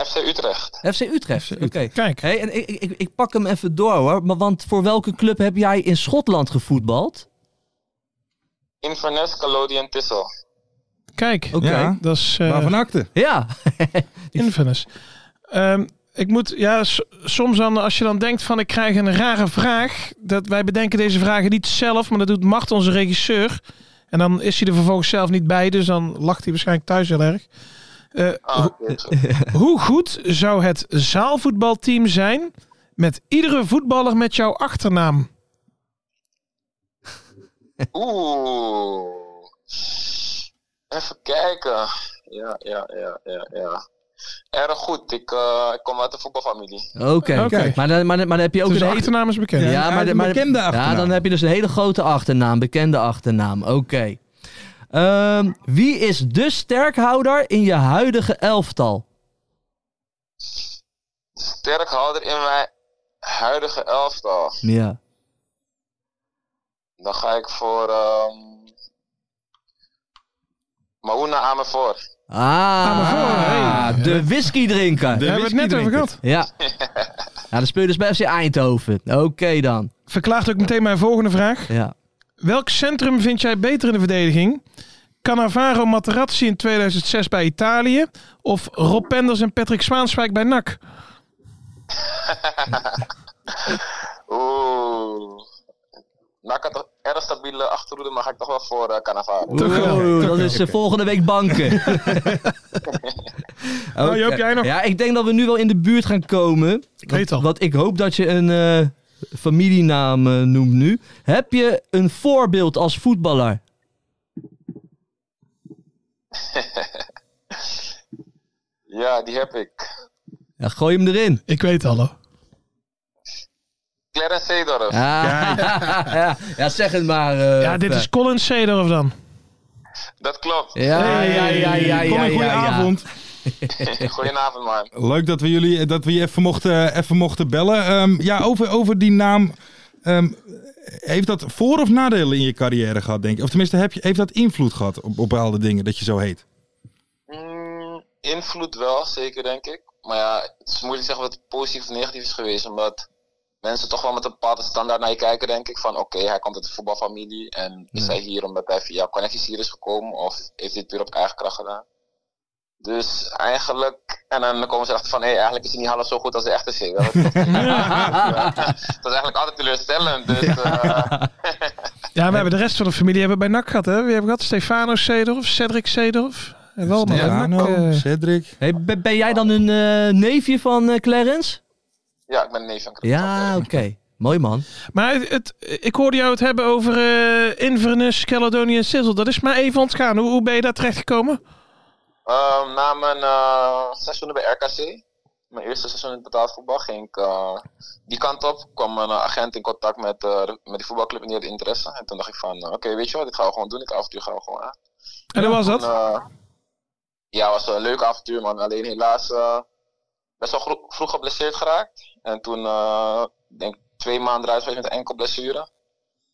S6: FC Utrecht.
S1: FC Utrecht. Oké.
S4: Kijk.
S1: Hey, en ik, ik- ik, ik pak hem even door hoor. Maar want voor welke club heb jij in Schotland gevoetbald?
S6: Inverness, Calodian, Tissel.
S4: Kijk.
S1: Oké.
S3: Ja.
S4: Dat is eh,
S3: Waarvan acte?
S1: Ja.
S4: Inverness. Ehm, ik moet, ja, s- soms dan, als je dan denkt van ik krijg een rare vraag. Dat wij bedenken deze vragen niet zelf, maar dat doet Mart, onze regisseur. En dan is hij er vervolgens zelf niet bij, dus dan lacht hij waarschijnlijk thuis heel erg. Eh,
S6: Ah, goed.
S4: Hoe goed zou het zaalvoetbalteam zijn met iedere voetballer met jouw achternaam?
S6: Oeh. Even kijken. Ja, ja, ja, ja, ja. Erg goed. Ik, eh, ik kom uit de voetbalfamilie.
S1: Oké.
S4: Oké.
S1: Maar, dan- maar, dan- maar dan heb je ook
S4: Dus de
S1: een hele-
S4: achternaam is bekend.
S3: Ja, hij heeft een bekende achternaam.
S1: Ja, dan heb je dus een hele grote achternaam. Bekende achternaam. Oké. Ehm, wie is de sterkhouder in je huidige elftal?
S6: Sterkhouder in mijn huidige elftal.
S1: Ja.
S6: Dan ga ik voor. ehm Mauna aan me voor.
S1: Ah,
S4: maar voor, hey.
S1: de whisky drinken.
S4: Daar hebben we het net over gehad.
S1: Ja. ja, dan speel je dus bij FC Eindhoven. Oké dan.
S4: Verklaart ook meteen mijn volgende vraag.
S1: Ja.
S4: Welk centrum vind jij beter in de verdediging? Cannavaro Materazzi in 2006 bij Italië of Rob Penders en Patrick Zwaanswijk bij NAC?
S6: Oeh. Nou, ik had een erg stabiele achterhoede, maar ga ik toch wel voor eh Cannavaro.
S4: Toch wel.
S1: Oeh, dat is eh, volgende week banken. Oké.
S4: Nou, Joop, jij nog?
S1: Ja, ik denk dat we nu wel in de buurt gaan komen. Ik
S4: weet het al.
S1: Want ik hoop dat je een eh, familienaam eh, noemt nu. Heb je een voorbeeld als voetballer?
S6: Ja, die heb ik.
S1: Ja, gooi hem erin.
S4: Ik weet het al. hoor.
S6: Clarence Seedorf.
S1: Ja, Ah. ja. zeg het maar. eh,
S4: Ja, dit
S1: Fer.
S4: is Colin Cedar of dan?
S6: Dat klopt.
S1: Ja, ja, ja, ja, ja.
S3: Kom een goede
S1: ja, ja.
S3: avond.
S6: Goedenavond, man.
S3: Leuk dat we jullie eh, dat we je even mochten, eh, even mochten bellen. Ehm, ja, over, over die naam. ehm, heeft dat voor- of nadelen in je carrière gehad, denk je? Of tenminste, heb je, heeft dat invloed gehad op, op bepaalde dingen dat je zo heet?
S6: Mm, invloed wel, zeker denk ik. Maar ja, het is moeilijk zeggen wat het positief of negatief is geweest. Omdat mensen toch wel met een bepaalde standaard naar je kijken, denk ik. Van oké, hij komt uit de voetbalfamilie. En is hij hier omdat hij via connecties hier is gekomen? Of heeft hij het puur op eigen kracht gedaan? Dus eigenlijk, en dan komen ze erachter van, hé, eigenlijk is hij niet half zo goed als de echte zee. Dat, dat is eigenlijk altijd teleurstellend. Dus, eh,
S4: Ja, we hebben de rest van de familie hebben bij NAC gehad. Hè? Wie hebben we gehad? Stefano Cedar of Cedric Cedar of? En wel, maar bij NAC,
S3: Stefano,
S4: eh,
S3: Cedric.
S1: Hey, ben, ben jij dan een eh, neefje van eh, Clarence?
S6: ja, ik ben een neef van Chris.
S1: Ja, oké. Mooi man.
S4: Maar het, het- ik hoorde jou het hebben over eh, Inverness, Caledonië en Sizzle. Dat is maar even ontgaan. Hoe, hoe ben je daar terechtgekomen?
S6: Ehm, na mijn eh, seizoenen bij RKC mijn eerste seizoen in het betaald voetbal ging ik eh, die kant op. kwam een eh, agent in contact met, eh, de- met die voetbalclub en die had interesse. En toen dacht ik van, eh, oké, weet je wat, dit gaan we gewoon doen. Dit avontuur gaan we gewoon aan.
S4: En hoe was dat?
S6: En, eh, ja, het was een leuk avontuur, man. Alleen helaas eh, best wel gro- vroeg geblesseerd geraakt. En toen, eh, ik denk twee maanden eruit geweest met enkel blessure.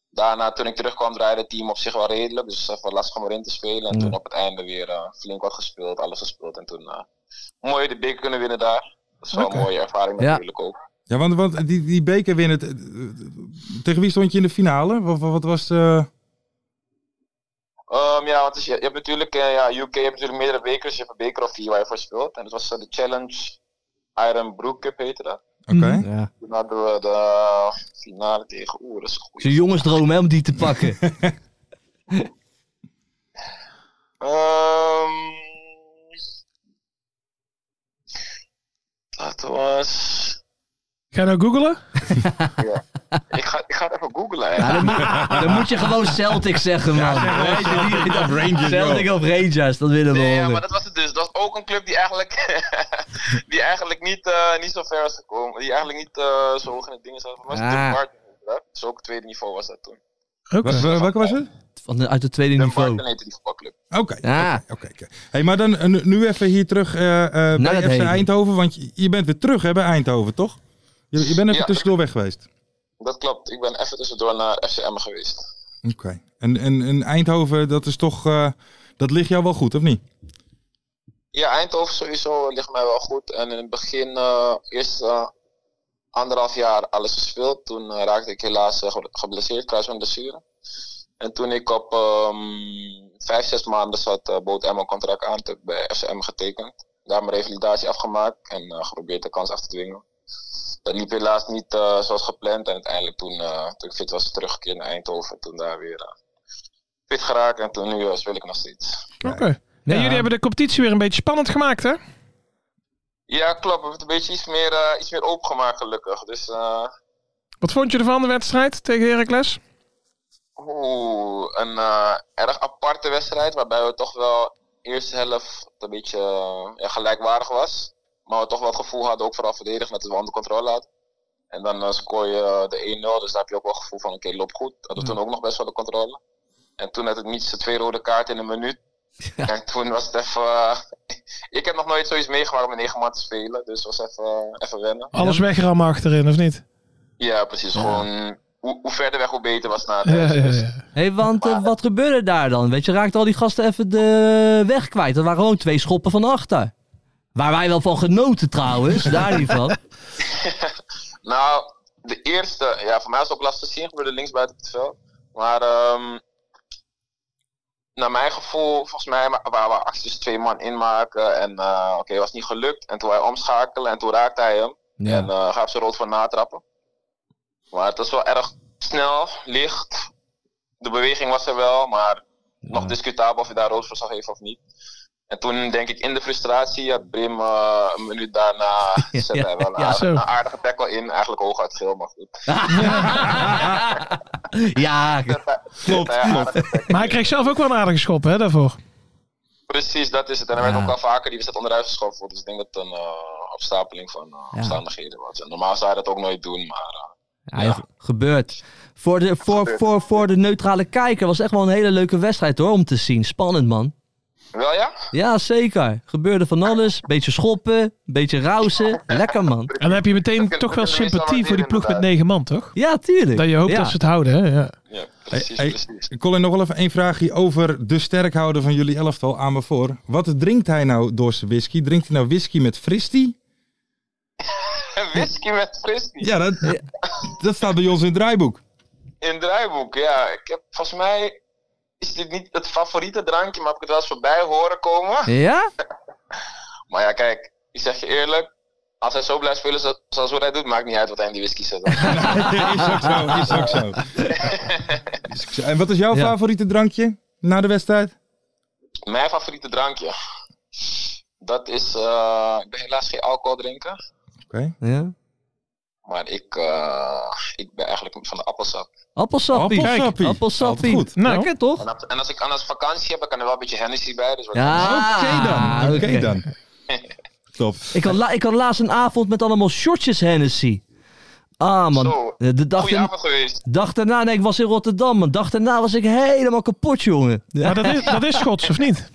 S6: Daarna, toen ik terugkwam, draaide het team op zich wel redelijk. Dus het was even lastig om erin te spelen. En
S1: Ja.
S6: toen op het einde weer eh, flink wat gespeeld, alles gespeeld. En toen eh, mooi de beker kunnen winnen daar. Dat is wel
S3: Oké.
S6: een mooie ervaring
S1: Ja.
S6: natuurlijk ook.
S3: Ja, want, want die, die beker winnen. het- Tegen wie stond je in de finale? Wat, wat wat was eh, de...
S6: Ehm, ja, want het is- je, je hebt natuurlijk, eh, ja, UK hebt natuurlijk meerdere bekers. Je hebt een beker of vier waar je voor speelt. En dat was eh, de Challenge Iron Brook Cup heette dat.
S3: Oké.
S1: Mhm. Ja.
S6: Toen hadden we de finale tegen Oeh, dat is een goeie.
S1: Zijn jongensdroom hè, om die te pakken.
S6: Ehm, dat was...
S4: Ga je nou googlen?
S6: Ik ga, ik ga het even googlen. hè.
S1: Ja, dan, moet, dan moet je gewoon Celtic zeggen, man. Weet je, die- Celtic of Rangers, dat willen we
S6: Nee, ja,
S1: horen.
S6: maar dat was het dus. Dat was ook een club die eigenlijk, die eigenlijk niet, eh, niet zo ver was gekomen. Die eigenlijk niet eh, zo hoog in het ding zat. Maar was
S1: Ah.
S6: de Martin. hè? Dus ook het tweede niveau was dat toen.
S4: Oké.
S3: Wa- wa- welke was het?
S1: Van de- uit het tweede
S6: De
S1: niveau.
S6: Martin heette die voetbalclub.
S3: Oké.
S1: Ja.
S3: Oké, oké. Hey, maar dan eh, nu- nu even hier terug eh eh,
S1: Naar
S3: bij
S1: het
S3: FC
S1: heden.
S3: Eindhoven, want je, je bent weer terug hè, bij Eindhoven, toch? Je, je bent even
S6: Ja.
S3: tussendoor weg geweest.
S6: Dat klopt. Ik ben even tussendoor naar FCM geweest.
S3: Oké. En, en, en Eindhoven, dat is toch, eh, dat ligt jou wel goed, of niet?
S6: Ja, Eindhoven sowieso ligt mij wel goed. En in het begin, eh, eerst eh, anderhalf jaar alles gespeeld. Toen eh, raakte ik helaas eh, ge- geblesseerd, kruisbandblessure. En toen ik op ehm, vijf, zes maanden zat, eh, bood Emma een contract aan. Toen heb ik bij FCM getekend. Daar mijn revalidatie afgemaakt en eh, geprobeerd de kans af te dwingen. Dat liep helaas niet eh, zoals gepland. En uiteindelijk toen, eh, toen ik fit was, teruggekeerd naar Eindhoven. Toen daar weer eh, fit geraakt. En toen nu eh, speel ik nog steeds.
S4: Oké. En jullie hebben de competitie weer een beetje spannend gemaakt, hè?
S6: Ja, klopt. We hebben het een beetje iets meer, eh, iets meer opengemaakt, gelukkig. Dus, eh
S4: Wat vond je ervan, de wedstrijd tegen Heracles?
S6: oeh, een eh, erg aparte wedstrijd. Waarbij we toch wel de eerste helft een beetje eh, ja, gelijkwaardig was. Maar we toch wel het gevoel hadden, ook vooral verdedigend, dat we het onder controle hadden. En dan eh, scoor je eh, de 1-0, dus daar heb je ook wel het gevoel van: oké, loopt goed. Dat we toen ook nog best wel de controle. En toen had het niets, de twee rode kaarten in een minuut. En toen was het even. eh, ik heb nog nooit zoiets meegemaakt om met 9 man te spelen, dus het was even, even wennen.
S4: Alles wegrammen achterin, of niet?
S6: Ja, precies. Gewoon hoe, hoe verder weg, hoe beter was het na het
S4: Ja, ja,
S6: huis. Dus
S4: ja.
S1: Hé, want eh, wat gebeurde daar dan? Weet je, raakten al die gasten even de weg kwijt. Dat waren gewoon twee schoppen van achter. Waar wij wel van genoten trouwens, daar niet van.
S6: Nou, de eerste, ja, voor mij was het ook lastig te zien, gebeurde links buiten het veld. Maar ehm, naar mijn gevoel, volgens mij ma- waren we acties twee man inmaken. En eh, oké, was niet gelukt. En toen hij omschakelen en toen raakte hij hem. En eh gaf ze rood voor natrappen. Maar het was wel erg snel, licht. De beweging was er wel, maar nog discutabel of je daar rood voor zou geven of niet. En toen denk ik in de frustratie had Brim eh, een minuut daarna zette hij wel een,
S1: Ja,
S6: aard-
S4: zo.
S6: een aardige tackle in. Eigenlijk hooguit geel, maar goed.
S1: ja,
S6: Klopt,
S4: Maar hij kreeg zelf ook wel een aardige schop, hè, daarvoor.
S6: Precies, dat is het. En hij
S1: Ja.
S6: werd ook al vaker die wedstrijd onderuit geschoven. worden. Dus ik denk dat het een eh, opstapeling van eh,
S1: Ja.
S6: omstandigheden was. En normaal zou hij dat ook nooit doen, maar... eh,
S1: Ja, joh, gebeurt. Voor de, voor, voor, voor de neutrale kijker was het echt wel een hele leuke wedstrijd hoor, om te zien. Spannend man.
S6: wel ja?
S1: Ja, zeker. Gebeurde van alles. Beetje schoppen, beetje rausen. Lekker man.
S4: En dan heb je meteen
S6: Dat
S4: toch wel
S6: kunnen we meestal
S4: sympathie voor die
S6: waarderen,
S4: ploeg met
S6: inderdaad.
S4: negen man, toch?
S1: Ja, tuurlijk.
S4: Dat je hoopt
S1: Ja.
S4: dat ze het houden, hè? Ja.
S6: Ja, precies,
S3: hey.
S6: precies.
S3: Colin, nog wel even één vraagje over de sterkhouder van jullie elftal aan me voor. Wat drinkt hij nou door zijn whisky? Drinkt hij nou whisky met fristie?
S6: Whisky met frisbee.
S3: Ja, dat, dat staat bij ons in het draaiboek.
S6: In het draaiboek, ja. Ik heb, volgens mij is dit niet het favoriete drankje, maar heb ik het wel eens voorbij horen komen.
S1: Ja?
S6: Maar ja, kijk, ik zeg je eerlijk. Als hij zo blijft spelen zo- zoals wat hij doet, maakt niet uit wat hij in die whisky zet.
S3: is ook zo, is ook zo. Is ook zo. En wat is jouw
S1: Ja.
S3: favoriete drankje na de wedstrijd?
S6: Mijn favoriete drankje. Dat is, eh, ik ben helaas geen alcohol drinken.
S3: Oké.
S1: ja.
S6: Maar ik, eh, ik ben eigenlijk van de appelsap.
S1: Appelsappie.
S3: Appelsappie.
S1: Appelsappie.
S3: Altijd goed.
S4: Nou.
S1: Lekker toch?
S6: En, dat- en als ik anders vakantie heb, dan kan er wel een beetje Hennessy bij. Dus wat-
S1: Ja.
S3: Oké dan. Oké
S1: oké.
S3: dan. Top.
S1: Ik had, la- ik had laatst een avond met allemaal shortjes Hennessy. Ah man,
S6: Zo. Oh,
S1: de, de dag,
S6: Goeie
S1: daarna-
S6: avond geweest.
S1: dag daarna, nee ik was in Rotterdam man. Dag daarna was ik helemaal kapot jongen. Ja,
S4: Maar dat is, dat is Schots, of niet?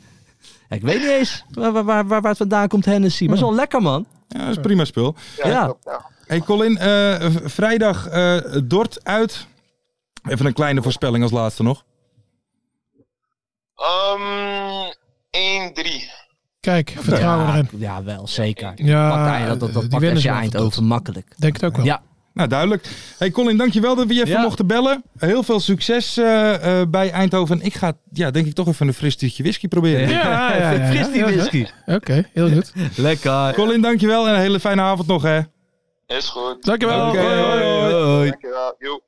S1: ik weet niet eens waar, waar, waar, waar het vandaan komt Hennessy. Maar het is wel lekker man.
S3: Ja, dat is prima spul.
S6: Ja,
S1: Ja.
S6: klopt, ja.
S3: Hey Colin, eh, v- vrijdag eh, Dort uit. Even een kleine voorspelling als laatste nog.
S6: Ehm, 1-3.
S4: Kijk, vertrouwen erin.
S1: ja wel zeker.
S4: Ja,
S1: Partij, dat dat,
S4: die
S1: dat pakt
S4: winnen
S1: SC
S4: ze wel
S1: Eind
S4: van Dort.
S1: over makkelijk.
S4: Denk het ook wel.
S1: Ja,
S3: Nou, duidelijk. Hey Colin, dankjewel dat we je even
S1: Ja.
S3: mochten bellen. Heel veel succes eh, eh, bij Eindhoven. En ik ga, ja, denk ik, toch even een fris tuutje whisky proberen.
S4: Ja, ja, ja,
S1: fris die
S4: ja, ja.
S1: whisky.
S4: Oké, heel goed.
S1: Lekker.
S3: Colin, dankjewel en een hele fijne avond nog, hè.
S6: Is goed.
S4: Dankjewel.
S3: Oké.
S4: Hoi, hoi.
S1: Hoi, hoi.
S6: Dankjewel. Joep.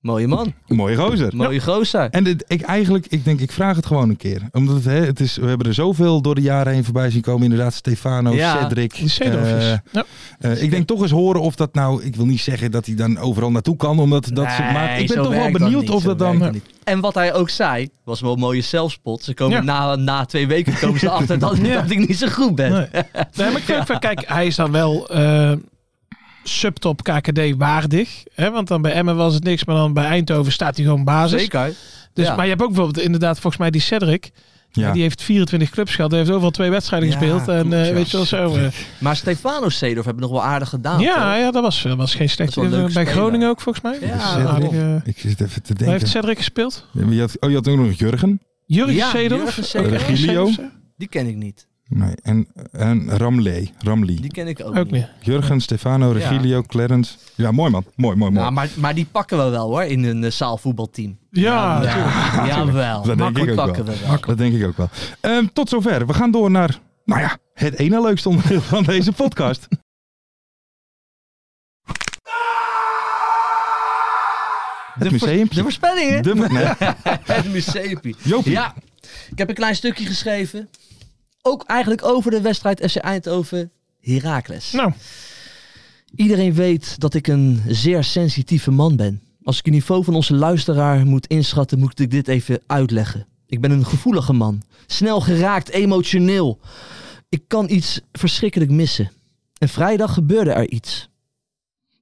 S1: Mooie man,
S3: Mooie gozer.
S1: mooie gozer.
S3: En dit, ik eigenlijk, ik denk, ik vraag het gewoon een keer. Omdat het, hè, het is, we hebben er zoveel door de jaren heen voorbij zien komen. Inderdaad, Stefano,
S1: Ja,
S3: Cedric.
S4: Die zedelvis.
S3: eh,
S4: ja.
S3: eh, ik denk toch eens horen of dat nou... Ik wil niet zeggen dat hij dan overal naartoe kan. Omdat dat ze, maar
S1: Nee,
S3: ik ben
S1: zo
S3: toch wel
S1: werkt
S3: benieuwd
S1: niet,
S3: of
S1: zo
S3: dat dan...
S1: werkt niet. En wat hij ook zei, was wel een mooie zelfspot. Ze komen
S4: Ja.
S1: na, na twee weken komen ze achter dat, dat ik niet zo goed ben.
S4: Nee. Nee, maar ik vind ook van, kijk, hij is dan wel eh, subtop KKD waardig. Hè? Want dan bij Emmen was het niks, maar dan bij Eindhoven staat hij gewoon basis.
S1: Zeker.
S4: Dus,
S1: Ja.
S4: Maar je hebt ook bijvoorbeeld inderdaad volgens mij die Cedric.
S3: Ja.
S4: Die heeft 24 clubs gehad. Die heeft overal twee wedstrijden
S1: Ja,
S4: gespeeld. En
S1: klopt,
S4: eh,
S1: ja.
S4: weet je wel zo. eh,
S1: Maar Stefano Seedorf hebben nog wel aardig gedaan.
S4: ja,
S1: toch?
S4: ja, dat was, dat was geen
S1: wel
S4: slechte. eh,
S1: een
S4: Bij
S1: leuke speler.
S4: Groningen ook volgens mij.
S1: Ja,
S4: Een aardige-
S3: Ik zit even te
S4: Waar
S3: denken.
S4: heeft Cedric gespeeld?
S3: Ja, maar je had, oh, je had ook nog Jurgen.
S4: Jurgen
S1: Ja,
S4: Seedorf.
S1: Jurgen Seedorf.
S4: Eh,
S3: Regilio.
S4: Seedorf,
S1: Die ken ik niet.
S3: Nee, en, en Ramlee. Ramlee.
S1: Die ken ik ook,
S4: Ook niet.
S3: Jurgen, Stefano, Regilio, Clarence. Ja, mooi man. Mooi, mooi, mooi.
S1: Nou, maar, maar die pakken we wel hoor, in een eh, zaalvoetbalteam.
S4: Ja,
S1: ja, jawel.
S3: Dat denk
S1: Makkelijk
S3: ik ook
S1: pakken
S3: wel.
S1: we wel.
S3: Dat denk ik ook wel. Ehm, tot zover. We gaan door naar, nou ja, het ene leukste onderdeel van deze podcast. Het
S1: vers- De
S3: museumpje.
S1: voorspellingen.
S3: De, nee,
S1: Het museumpje.
S3: Jopie.
S1: Ja, ik heb een klein stukje geschreven. Ook eigenlijk over de wedstrijd FC Eindhoven Heracles.
S4: Nou,
S1: Iedereen weet dat ik een zeer sensitieve man ben. Als ik het niveau van onze luisteraar moet inschatten, moet ik dit even uitleggen. Ik ben een gevoelige man. Snel geraakt, emotioneel. Ik kan iets verschrikkelijk missen. En vrijdag gebeurde er iets.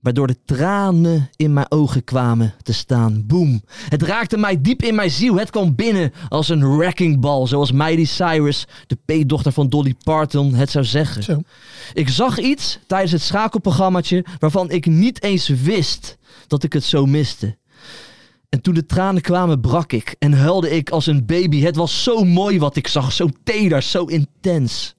S1: Waardoor de tranen in mijn ogen kwamen te staan. Boom. Het raakte mij diep in mijn ziel. Het kwam binnen als een wrecking ball. Zoals Miley Cyrus, de peetdochter van Dolly Parton, het zou zeggen.
S4: zo.
S1: Ik zag iets tijdens het schakelprogrammaatje waarvan ik niet eens wist dat ik het zo miste. En toen de tranen kwamen, brak ik en huilde ik als een baby. Het was zo mooi wat ik zag, zo teder, zo intens.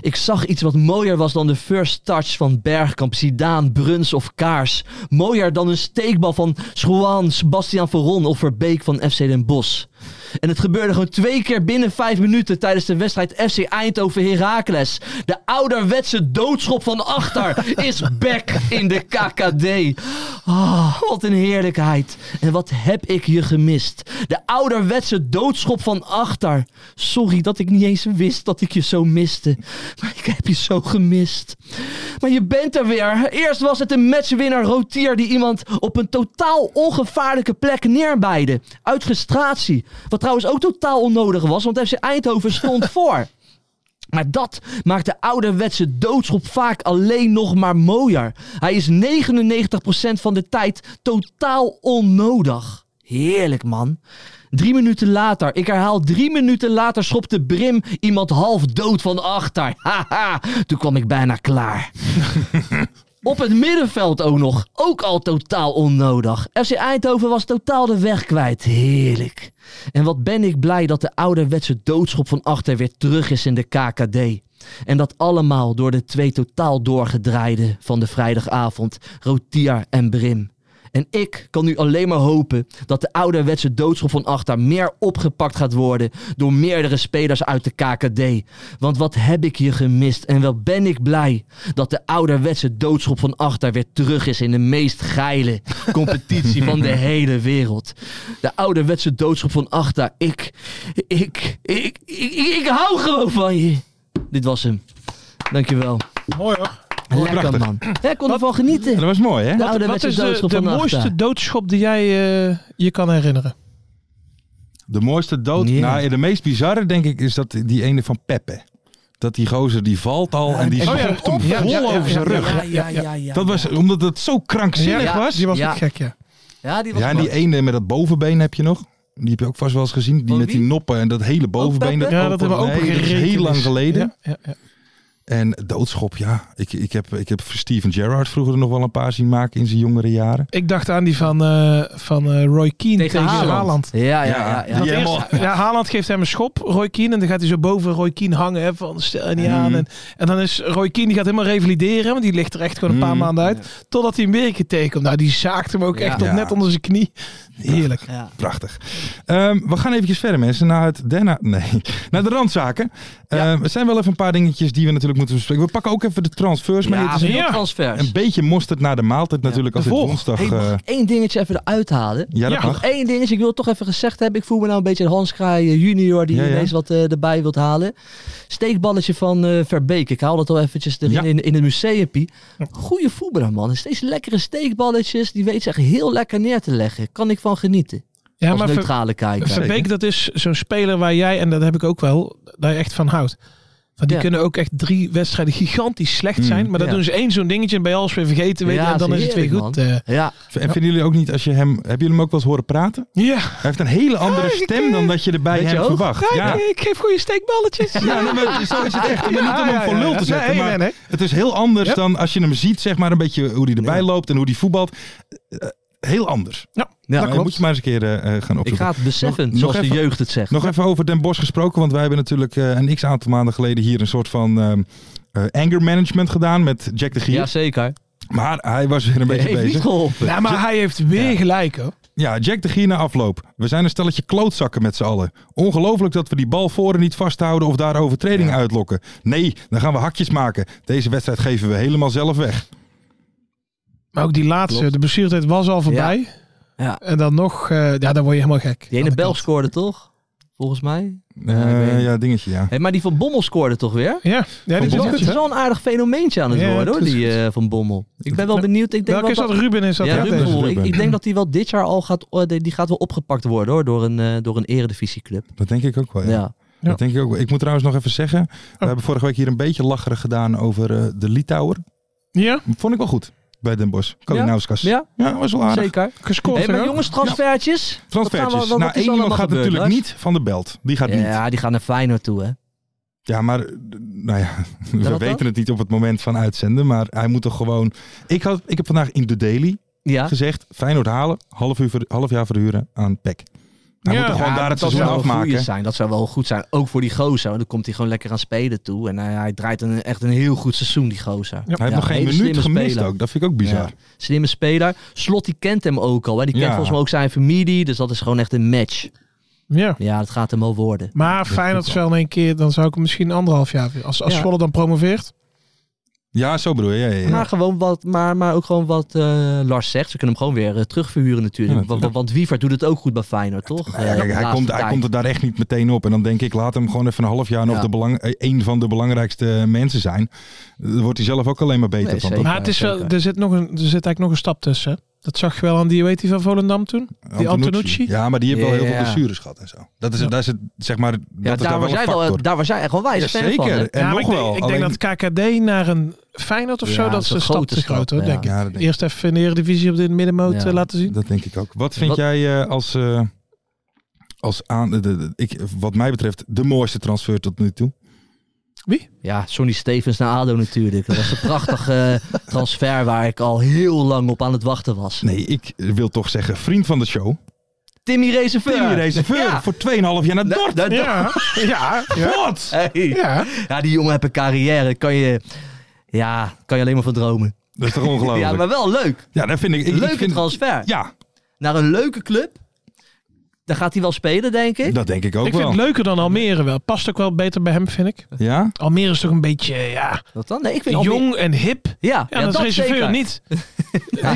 S1: Ik zag iets wat mooier was dan de first touch van Bergkamp, Zidaan, Bruns of Kaars. Mooier dan een steekbal van Schouan, Sebastian Veron of Verbeek van FC Den Bosch. En het gebeurde gewoon twee keer binnen vijf minuten tijdens de wedstrijd FC Eindhoven Heracles. De ouderwetse doodschop van achter is back in de KKD. Ah, wat een heerlijkheid. En wat heb ik je gemist. De ouderwetse doodschop van achter. Sorry dat ik niet eens wist dat ik je zo miste. Maar ik heb je zo gemist. Maar je bent er weer. Eerst was het een matchwinnaar Rotier die iemand op een totaal ongevaarlijke plek neerbeide. Uit frustratie. Wat trouwens ook totaal onnodig was, want FC Eindhoven stond voor. Maar dat maakt de ouderwetse doodschop vaak alleen nog maar mooier. Hij is 99% van de tijd totaal onnodig. Heerlijk man. Drie minuten later, ik herhaal drie minuten later, schopte Brim iemand half dood van achter. Haha, toen kwam ik bijna klaar. Op het middenveld ook nog. Ook al totaal onnodig. FC Eindhoven was totaal de weg kwijt. Heerlijk. En wat ben ik blij dat de ouderwetse doodschop van achter weer terug is in de KKD. En dat allemaal door de twee totaal doorgedraaiden van de vrijdagavond. Rotier en Brim. En ik kan nu alleen maar hopen dat de ouderwetse doodschop van Achter meer opgepakt gaat worden door meerdere spelers uit de KKD. Want wat heb ik hier gemist en wel ben ik blij dat de ouderwetse doodschop van Achter weer terug is in de meest geile competitie van de hele wereld. De ouderwetse doodschop van Achter, ik, ik, ik, ik, ik hou gewoon van je. Dit was hem. Dankjewel.
S4: Mooi hoor.
S1: Lekker
S3: prachtig.
S1: man. Ja, ik kon ervan genieten.
S3: dat was mooi, hè?
S1: De
S4: Wat, wat
S1: ouderwetse
S4: is de,
S1: doodschop
S4: de
S1: van Achter.
S4: mooiste doodschop die jij eh, je kan herinneren?
S3: De mooiste dood.
S1: Ja.
S3: Nou, de meest bizarre, denk ik, is dat die ene van Peppe. dat die gozer die valt al en die
S4: Oh ja,
S3: schopt hem
S4: ja,
S3: vol
S4: ja, ja,
S3: over zijn
S4: ja,
S3: rug.
S4: ja,
S3: Dat was omdat het zo krankzinnig
S4: Ja,
S3: was.
S4: Die was
S1: Ja.
S4: ook gek, ja.
S1: Ja, die was
S3: Ja, en die
S1: knap.
S3: ene met dat bovenbeen heb je nog. Die heb je ook vast wel eens gezien. Die
S1: Van
S3: met die
S1: wie?
S3: noppen en dat hele bovenbeen.
S1: Peppe?
S4: Ja, dat hebben we ook
S3: Nee, dat is
S4: gereden.
S3: heel lang geleden.
S4: Ja, ja, ja.
S3: En doodschop, ja. Ik, ik, heb, ik heb Steven Gerrard vroeger nog wel een paar zien maken in zijn jongere jaren.
S4: Ik dacht aan die van, eh, van eh, Roy Keane tegen, Haaland.
S1: Ja, ja, ja. ja.
S3: die
S4: Want
S3: helemaal-
S4: eerst- ja, Haaland geeft hem een schop, Roy Keane. En dan gaat hij zo boven Roy Keane hangen. Hè, van stel je niet
S1: Mhm.
S4: aan. En, en dan is Roy Keane, die gaat helemaal revalideren. Want die ligt er echt gewoon een paar
S3: Mhm.
S4: maanden uit. Totdat hij hem weer een keer tegenkomt. Nou, die zaakt hem ook
S1: Ja.
S4: echt tot
S3: Ja.
S4: net onder zijn knie. Heerlijk.
S1: Ja.
S3: Prachtig. Ehm, we gaan eventjes verder, mensen, naar het daarna. Nee, naar de randzaken. Ehm, er zijn wel even een paar dingetjes die we natuurlijk moeten bespreken. We pakken ook even de transfers mee.
S1: Ja,
S3: Het is
S1: veel
S4: Ja.
S1: transfers.
S3: een beetje mosterd naar de maaltijd natuurlijk als het
S4: Vervolg.
S3: woensdag...
S1: Hey, mag
S3: eh,
S1: ik één dingetje even eruit halen?
S3: ja, dat
S4: Ja.
S3: mag.
S1: Eén ding is, ik wil het toch even gezegd hebben. Ik voel me nou een beetje een Hans Kraai eh, junior die
S3: Ja, ja.
S1: ineens wat eh, erbij wilt halen. Steekballetje van eh Verbeek. Ik haal dat al eventjes erin
S3: Ja.
S1: in, in het museumpie. Goeie voetballer man. Steeds lekkere steekballetjes. Die weet ze echt heel lekker neer te leggen. Kan ik van genieten.
S4: Ja,
S1: als
S4: maar Ver-
S1: neutrale kijker.
S3: Ver-
S4: Verbeek, dat is zo'n speler waar jij, en dat heb ik ook wel, daar je echt van houdt. Want die
S1: Ja.
S4: kunnen ook echt drie wedstrijden gigantisch slecht zijn.
S3: Mm,
S4: maar dan
S1: ja.
S4: doen ze één zo'n dingetje en bij alles weer vergeten. Weet je,
S1: Ja,
S4: en dan
S1: dat
S4: is
S1: is
S4: het weer
S1: heerlijk,
S4: goed. eh.
S1: Ja,
S3: En vinden jullie ook niet als je hem... Hebben jullie hem ook wel eens horen praten?
S4: ja,
S3: Hij heeft een hele andere
S4: Ah, ik,
S3: stem dan dat je erbij
S1: Weet je
S3: hem
S1: ook?
S3: verwacht.
S4: kijk,
S3: Ja,
S4: ik geef goede steekballetjes.
S3: ja nee, maar zo is het echt. Je moet
S4: Ja,
S3: hem
S4: ja,
S3: ook voor
S4: ja,
S3: lul
S4: ja.
S3: te zetten.
S4: Nee,
S3: maar
S4: nee, nee.
S3: Het is heel anders
S4: Ja.
S3: dan als je hem ziet, zeg maar, een beetje hoe hij erbij loopt en hoe hij voetbalt. Eh, heel anders.
S4: Ja,
S1: ja
S3: Maar moet je maar eens een keer eh, eh, gaan
S1: Ik
S3: opzoeken.
S1: ga het beseffen,
S3: Nog-
S1: zoals
S3: nog
S1: de
S3: even-
S1: jeugd het zegt.
S3: Nog even over Den Bosch gesproken, want wij hebben natuurlijk eh, een x-aantal maanden geleden hier een soort van ehm, eh, anger management gedaan met Jack de Gier.
S1: Jazeker.
S3: Maar hij was weer een beetje
S1: Heeft niet
S3: bezig.
S1: geholpen.
S4: Ja, maar hij heeft weer gelijk hoor.
S3: Ja, Jack de Gier na afloop. We zijn een stelletje klootzakken met z'n allen. Ongelooflijk dat we die bal voren niet vasthouden of daar overtredingen uitlokken. Nee, dan gaan we hakjes maken. Deze wedstrijd geven we helemaal zelf weg.
S4: Maar ook die laatste, de blessuretijd was al voorbij.
S1: Ja.
S4: En dan nog, eh, ja, dan word je helemaal gek.
S1: Die
S4: Aan
S1: ene
S4: de
S1: Belg
S4: kant.
S1: scoorde toch? Volgens mij.
S3: Eh,
S1: ik weet niet.
S3: ja, dingetje, ja.
S1: Hey, maar die van Bommel scoorde toch weer?
S4: Ja, ja die
S3: Van
S4: is
S3: Bommel.
S4: goed.
S1: Het is
S4: hè?
S1: wel een aardig fenomeentje aan het
S4: Ja,
S1: worden,
S4: het
S1: hoor,
S4: is
S1: die eh, van Bommel. Ik ben wel benieuwd. Ik denk
S4: Welke is
S1: wel
S4: dat? Ruben is dat?
S1: Ja,
S4: hè?
S1: Ruben.
S3: dat is
S1: Ik,
S3: Ruben.
S1: ik denk dat die wel dit jaar al gaat, oh, die die gaat wel opgepakt worden hoor, door een, eh, door een eredivisieclub.
S3: Dat denk ik ook wel,
S1: Ja.
S3: Oh ja.
S1: Ja.
S3: Dat denk ik ook wel. Ik moet trouwens nog even zeggen,
S1: Oh.
S3: we hebben vorige week hier een beetje lacherig gedaan over eh, de Litouwer.
S4: Ja,
S3: Vond ik wel goed bij Den Bosch. Kalinauskas. Ja, was wel aardig.
S1: zeker.
S4: gescoord.
S1: Hey, maar
S4: hè?
S1: jongens, transfertjes. Wat gaan we-
S3: Transfertjes.
S1: wat- wat
S3: nou,
S1: is
S3: één
S1: allemaal
S3: iemand gaat
S1: gebeurd,
S3: natuurlijk
S1: Lars?
S3: niet van de belt. Die gaat niet.
S1: Ja, die gaan naar Feyenoord toe, hè?
S3: Ja, maar eh, nou ja, we
S1: wat
S3: weten
S1: dan?
S3: het niet op het moment van uitzenden. Maar hij moet toch gewoon... Ik, had, ik heb vandaag in de Daily
S1: Ja.
S3: gezegd... Feyenoord halen, half, uur, ver- half jaar verhuren aan PEC. Hij
S4: Ja.
S3: moet toch gewoon
S1: Ja,
S3: daar het
S1: dat
S3: seizoen
S1: zou wel een goeie
S3: afmaken.
S1: zijn. Dat zou wel goed zijn. Ook voor die gozer. Want dan komt hij gewoon lekker aan spelen toe. En eh, hij draait een, echt een heel goed seizoen, die gozer.
S3: Hij heeft nog geen
S1: hele
S3: minuut
S1: slimme
S3: gemist
S1: speler.
S3: ook. Dat vind ik ook bizar.
S1: Ja. Slimme speler. Slot die kent hem ook al. Hè. Die kent
S3: Ja.
S1: volgens mij ook zijn familie. Dus dat is gewoon echt een match.
S4: Ja.
S1: Ja, dat gaat hem wel worden.
S4: Maar Feyenoord is wel in één keer, dan zou ik hem misschien anderhalf jaar... Als, als
S1: Ja.
S4: Zwolle dan promoveert.
S3: Ja, zo bedoel je. Ja, ja, ja.
S1: Maar, gewoon wat, maar, maar ook gewoon wat eh, Lars zegt. Ze kunnen hem gewoon weer eh, terugverhuren natuurlijk.
S3: Ja,
S1: want, want, want Wievert doet het ook goed bij Feyenoord, toch?
S3: Nou ja,
S1: Eh,
S3: kijk,
S1: de
S3: hij,
S1: laatste
S3: komt, hij
S1: tijd.
S3: komt er daar echt niet meteen op. En dan denk ik, laat hem gewoon even een half jaar nog
S1: Ja.
S3: de belang, eh, een van de belangrijkste mensen zijn. Dan wordt hij zelf ook alleen maar beter
S1: Nee,
S3: van.
S1: zeker.
S4: Maar het is wel,
S1: zeker.
S4: er, zit nog een, er zit eigenlijk nog een stap tussen. hè? Dat zag je wel aan die, weet je, van Volendam toen?
S3: toch?
S4: Die Antonucci?
S3: Ja, maar die heeft wel heel veel
S1: Ja.
S3: blessures gehad en zo. Dat is, daar is het, zeg maar,
S1: Ja,
S3: dat is
S1: daar,
S3: daar
S1: was
S3: wel een
S1: jij wel,
S3: factor.
S1: daar was jij echt wel wijs
S3: Ja,
S1: fan van.
S3: zeker.
S1: hè?
S3: En
S4: Ja, maar
S3: nog
S4: ik denk,
S3: wel.
S4: ik
S3: Alleen-
S4: denk dat KKD naar een Feyenoord of
S1: Ja,
S4: zo,
S1: dat
S4: dat
S1: is
S4: is
S1: een
S4: een stap
S1: grote
S4: te groot hoor,
S1: stap,
S4: denk ik.
S3: ja, dat denk,
S4: Eerst even in de Eredivisie op dit middenmoot
S1: Ja.
S4: eh, laten zien.
S3: dat denk ik ook. Wat vind
S1: Wat-
S3: jij eh, als, eh, als aan, de, de- de- ik, wat mij betreft, de mooiste transfer tot nu toe?
S1: Ja, Sonny Stevens naar ADO natuurlijk. Dat was een prachtige eh, transfer waar ik al heel lang op aan het wachten was.
S3: Nee, ik wil toch zeggen, vriend van de show.
S1: Timmy Rezenveur.
S3: Timmy Reserveur
S1: Ja.
S3: voor 2,5 jaar naar Dordt.
S1: Da- da-
S4: Ja, ja, ja.
S3: Wat?
S1: Hey.
S4: ja.
S1: Ja, die jongen heeft een carrière. Kan je, ja, kan je alleen maar van dromen.
S3: Dat is toch ongelooflijk?
S1: Ja,
S3: Ja,
S1: maar wel leuk.
S3: dat vind ik... ik
S1: Leuke
S3: ik vind,
S1: transfer.
S3: Ja,
S1: Naar een leuke club. Daar gaat hij wel spelen, denk ik.
S3: dat denk ik ook
S4: Ik vind
S3: wel.
S4: het leuker dan Almere wel. Past ook wel beter bij hem, vind ik.
S3: Ja?
S4: Almere is toch een beetje, ja,
S1: Wat dan? Nee, ik vind Almere-
S4: jong en hip. Ja,
S1: Ja, ja,
S4: dat is
S1: dat
S4: reserveur
S1: zeker.
S4: niet.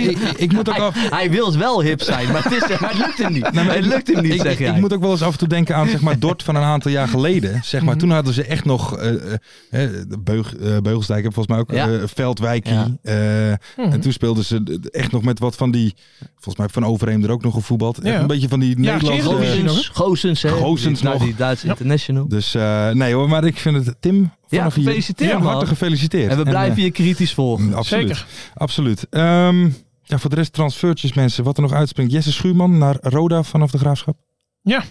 S3: ik, ik moet ook
S1: Hij,
S3: af...
S1: hij wil wel hip zijn, maar het, is, maar het lukt hem niet. het lukt hem niet,
S3: Ik,
S1: zeg
S3: ik,
S1: jij.
S3: ik moet ook wel eens af en toe denken aan zeg maar, Dort van een aantal jaar geleden. Zeg
S1: Mhm.
S3: maar, Toen hadden ze echt nog eh, eh, de Beug, eh, Beugelsdijk, heeft volgens mij ook
S1: Ja.
S3: eh, Veldwijkie.
S1: Ja. Mhm.
S3: eh, En
S4: Hm.
S3: toen speelden ze echt nog met wat van die... Volgens mij heeft Van Overheem er ook nog gevoetbald.
S4: Ja.
S3: Echt Een beetje van die Nederlandse...
S4: Geroen.
S1: Gozens, Gozens, hè?
S3: Gozens
S1: Die- nou,
S3: nog.
S1: die Duitse international.
S3: dus eh, nee hoor, maar ik vind het... Tim
S1: Ja,
S3: vanaf hier
S1: gefeliciteerd,
S3: Van
S1: man.
S3: harte gefeliciteerd.
S1: En we blijven
S3: eh,
S1: je kritisch volgen.
S3: absoluut. Absoluut. Ehm, ja, voor de rest transfertjes mensen. Wat er nog uitspringt. Jesse Schuurman naar Roda vanaf de Graafschap.
S4: Ja.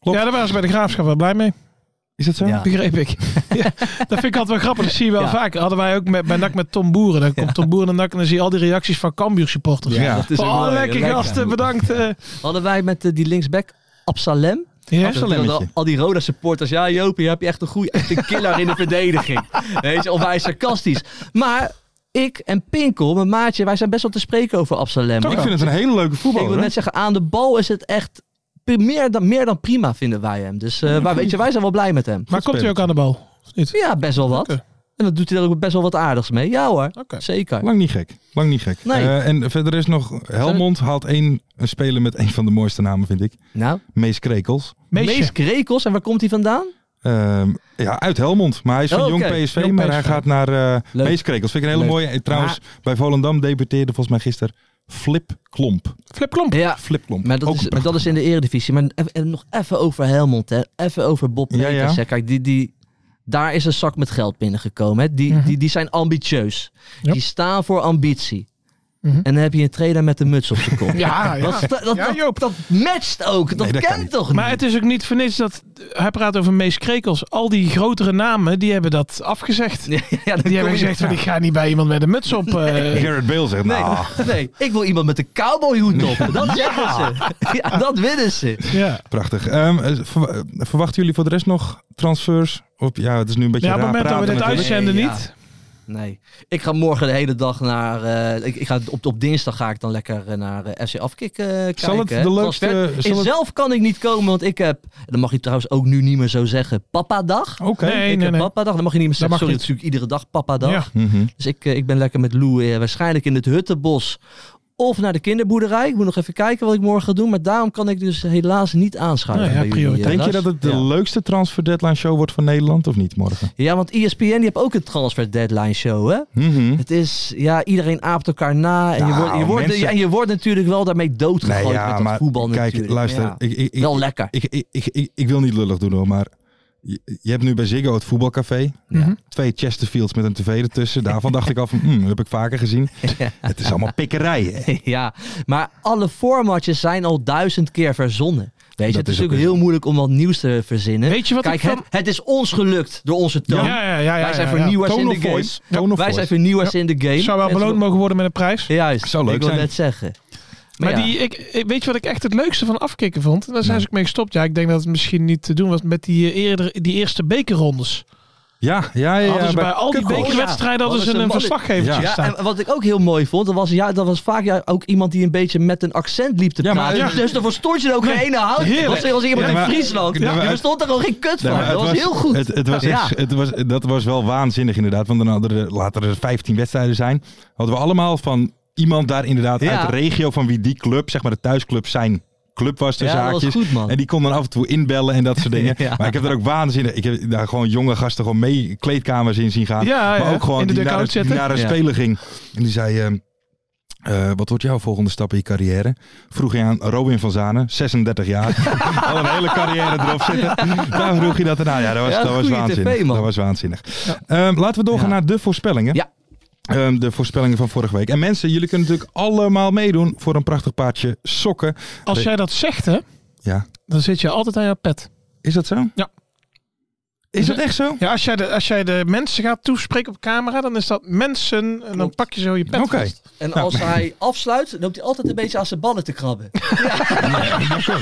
S3: Klopt.
S4: Ja, daar waren ze bij de graafschap wel blij mee.
S3: Is dat zo?
S1: Ja.
S4: Begreep ik. ja, dat vind ik altijd wel grappig. Dat zie je wel
S1: Ja.
S4: vaak. Hadden wij ook met, bij NAC met Tom Boeren. Dan komt Tom Boeren en NAC en dan zie je al die reacties van Cambuur supporters.
S3: Ja.
S1: Dat is ook
S4: oh,
S1: mooi.
S4: lekker gasten. Bedankt. eh.
S1: Hadden wij met eh, die linksback Absalem.
S4: ja.
S1: Dat- dat- dat- Al die Roda supporters. Ja, Jopie, heb je echt een goede echt een killer in de verdediging. Weet je, of hij is sarcastisch. Maar ik en Pinkel, mijn maatje, wij zijn best wel te spreken over Absalem.
S3: Ik
S1: hoor.
S3: vind het een hele leuke
S1: Ik wil
S3: voetballer. hè?
S1: net zeggen, aan de bal is het echt pri- meer dan, meer dan prima, vinden wij hem. Dus eh, maar weet je, wij zijn wel blij met hem.
S4: Maar komt hij ook aan de bal? Of niet?
S1: Ja, best wel wat.
S4: Oké.
S1: En dat doet hij dan ook best wel wat aardigs mee. Ja hoor,
S4: Oké.
S1: zeker.
S3: Lang niet gek. Lang niet gek.
S1: Nee.
S3: Eh, en verder is nog Helmond haalt één een speler met een van de mooiste namen, vind ik.
S1: Nou,
S3: Mees Krekels.
S4: Meesje.
S1: Mees Krekels, en waar komt hij vandaan?
S3: Ehm, ja, uit Helmond. Maar hij is van
S1: Oh,
S3: jong
S1: oké.
S3: PSV,
S4: Jong
S3: maar
S4: PSV.
S3: hij gaat naar eh
S1: Leuk.
S3: Meeskrekels. Vind ik een hele
S1: Leuk.
S3: mooie. En Trouwens, bij Volendam debuteerde volgens mij gisteren Flip Klomp.
S4: Flip Klomp.
S1: Ja,
S3: Flip Klomp.
S1: maar dat,
S3: Ook
S1: is,
S3: een
S1: maar dat is in de eredivisie. Maar even- en nog even over Helmond, hè. even over Bob
S3: Ja,
S1: Peters.
S3: ja.
S1: hè. Kijk, die, die, daar is een zak met geld binnengekomen. Hè. Die, die, die zijn ambitieus.
S4: Mhm. Ja.
S1: Die staan voor ambitie.
S4: Mhm.
S1: En dan heb je een trainer met een muts op zijn kop.
S4: Ja, ja.
S1: Dat, sta- dat,
S4: Ja,
S1: dat-
S4: Joop.
S1: dat matcht ook. Dat
S3: Nee, dat kan
S1: kent
S3: niet.
S1: toch niet?
S4: Maar het is ook niet voor niks dat hij praat over Mees Krekels. Al die grotere namen, die hebben dat afgezegd.
S1: Ja, ja, dan
S4: Die hebben
S1: kom je-
S4: gezegd van ik ga niet bij iemand met een muts op. eh.
S3: Garrett Bale zegt,
S1: Nee,
S3: nou,
S1: nee, ik wil iemand met een cowboyhoed op. Dat zeggen ze. Ja, dat winnen ze.
S4: ja.
S3: prachtig. Ehm, eh, verwa- eh, verwachten jullie voor de rest nog transfers? Op, ja, het is nu een beetje
S4: ja, op het
S3: raar
S4: moment dat we
S3: praten
S4: dit
S3: natuurlijk.
S4: uitzenden
S1: Nee, ja.
S4: niet.
S1: Nee. Ik ga morgen de hele dag naar... eh, ik, ik ga op, op dinsdag ga ik dan lekker eh, naar eh, FC Afkik eh, kijken.
S3: Zal het
S1: hè.
S3: de leukste...
S1: Transfer-
S3: zal het-
S1: Zelf kan ik niet komen, want ik heb... en Dat mag je trouwens ook nu niet meer zo zeggen. Papa-dag.
S3: Oké.
S4: Nee,
S1: ik
S4: nee,
S1: heb
S4: nee.
S1: papa-dag. Dat mag je niet meer
S4: Dat
S1: zeggen. Sorry,
S4: mag niet.
S1: het is natuurlijk iedere dag papa-dag.
S4: Ja.
S3: Mhm.
S1: Dus ik, eh, ik ben lekker met Lou eh, waarschijnlijk in het Huttenbos of naar de kinderboerderij. Ik moet nog even kijken wat ik morgen ga doen. Maar daarom kan ik dus helaas niet aanschuiven.
S4: Nou ja,
S1: bij jullie, eh,
S4: prioriteit.
S3: Denk je
S1: Lars.
S3: dat het de
S1: Ja.
S3: leukste transfer deadline show wordt van Nederland of niet morgen?
S1: Ja, want E ESPN die heeft ook een transfer deadline show, hè?
S3: Mhm.
S1: Het is, ja, iedereen aapt elkaar na. En, je,
S3: Nou,
S1: wordt, je, wordt,
S3: mensen-
S1: en je wordt natuurlijk wel daarmee doodgegooid
S3: Nee, ja,
S1: met dat
S3: maar
S1: voetbal
S3: kijk,
S1: natuurlijk.
S3: luister.
S1: Ja.
S3: Ik, ik, ik,
S1: wel lekker.
S3: ik, ik, ik, ik, ik wil niet lullig doen hoor, maar je, je hebt nu bij Ziggo het voetbalcafé. Mhm.
S1: Ja.
S3: Twee Chesterfields met een tv ertussen. Daarvan dacht ik al van, hmm, heb ik vaker gezien. Het is allemaal pikkerijen.
S1: ja, maar alle formatjes zijn al duizend keer verzonnen. Weet je,
S3: Dat
S1: het is
S3: is ook
S1: ook heel moeilijk om wat nieuws te verzinnen.
S4: Weet je wat
S1: Kijk,
S4: ik
S1: het,
S4: van...
S1: het is ons gelukt door onze toon.
S4: Ja, ja, ja, ja,
S1: Wij zijn
S4: ja, ja.
S1: vernieuwers in
S3: Tone
S1: de
S3: of
S1: game.
S3: voice. Tone of
S1: Wij zijn
S3: voice.
S1: vernieuwers in de game.
S4: Zou wel
S1: En zo-
S4: beloond mogen worden met een prijs.
S1: Juist,
S3: Zou leuk
S1: ik wil
S3: zijn.
S1: net zeggen.
S4: Maar
S1: ja.
S4: die, ik, ik- weet je wat ik echt het leukste van afkicken vond? En daar zijn ze ook mee gestopt. Ja, ik denk dat het misschien niet te doen was met die, eh, eerder, die eerste bekerrondes.
S3: Ja, ja, ja.
S4: hadden
S3: ja
S4: ze bij, al die
S3: Kukkel.
S4: bekerwedstrijden hadden ze
S1: Hadden ze
S4: een
S1: een
S3: Ja.
S4: verslaggevertje
S1: Ja,
S4: staan.
S1: en wat ik ook heel mooi vond, dat was, ja, dat was vaak ja, ook iemand die een beetje met een accent liep te
S3: Ja, maar-
S1: praten.
S3: ja.
S1: Dus dan verstond je er ook geen ene hout. van.
S4: Heerlijk.
S1: Was er was iemand
S3: Ja,
S1: in
S3: maar-
S1: Friesland,
S3: Ja, maar-
S1: die verstond er gewoon geen kut van.
S3: Nee, maar
S1: dat
S3: het
S1: was, heel goed.
S3: Het, het was
S1: Ja.
S3: echt- het was, dat was wel waanzinnig inderdaad. Want dan hadden er later er 15 wedstrijden zijn. Hadden we allemaal van iemand daar inderdaad
S1: Ja.
S3: uit de regio van wie die club, zeg maar de thuisclub, zijn club was. De
S1: Ja, dat was
S3: zaakjes.
S1: goed, man.
S3: En die kon dan af en toe inbellen en dat soort dingen.
S1: Ja.
S3: Maar ik heb er ook waanzinnig. Ik heb daar gewoon jonge gasten gewoon mee kleedkamers in zien gaan.
S4: Ja, ja,
S3: maar ook gewoon
S4: in de
S3: die, naar,
S4: dugout
S3: die
S4: zitten.
S3: naar een
S1: Ja.
S3: speler ging. En die zei. ehm, eh, wat wordt jouw volgende stap in je carrière? Vroeg je aan Robin van Zanen, 36 jaar. Al een hele carrière erop zitten. Daar vroeg je dat erna. Ja, dat was,
S1: Ja,
S3: dat was
S1: goeie
S3: waanzinnig.
S1: TV, man.
S3: dat was waanzinnig. Ehm, laten we doorgaan
S1: Ja.
S3: naar de voorspellingen.
S1: Ja.
S3: Ehm, de voorspellingen van vorige week. En mensen, jullie kunnen natuurlijk allemaal meedoen voor een prachtig paardje sokken.
S4: Als jij dat zegt, hè,
S3: Ja.
S4: dan zit je altijd aan jouw pet.
S3: Is dat zo?
S4: Ja.
S3: Is dat echt zo?
S4: Ja, als jij de, als jij de mensen gaat toespreken op camera, dan is dat mensen. En dan
S1: Klopt.
S4: pak je zo je pet
S3: Oké.
S4: vast.
S1: En als hij afsluit, loopt hij altijd een beetje aan zijn ballen te krabben.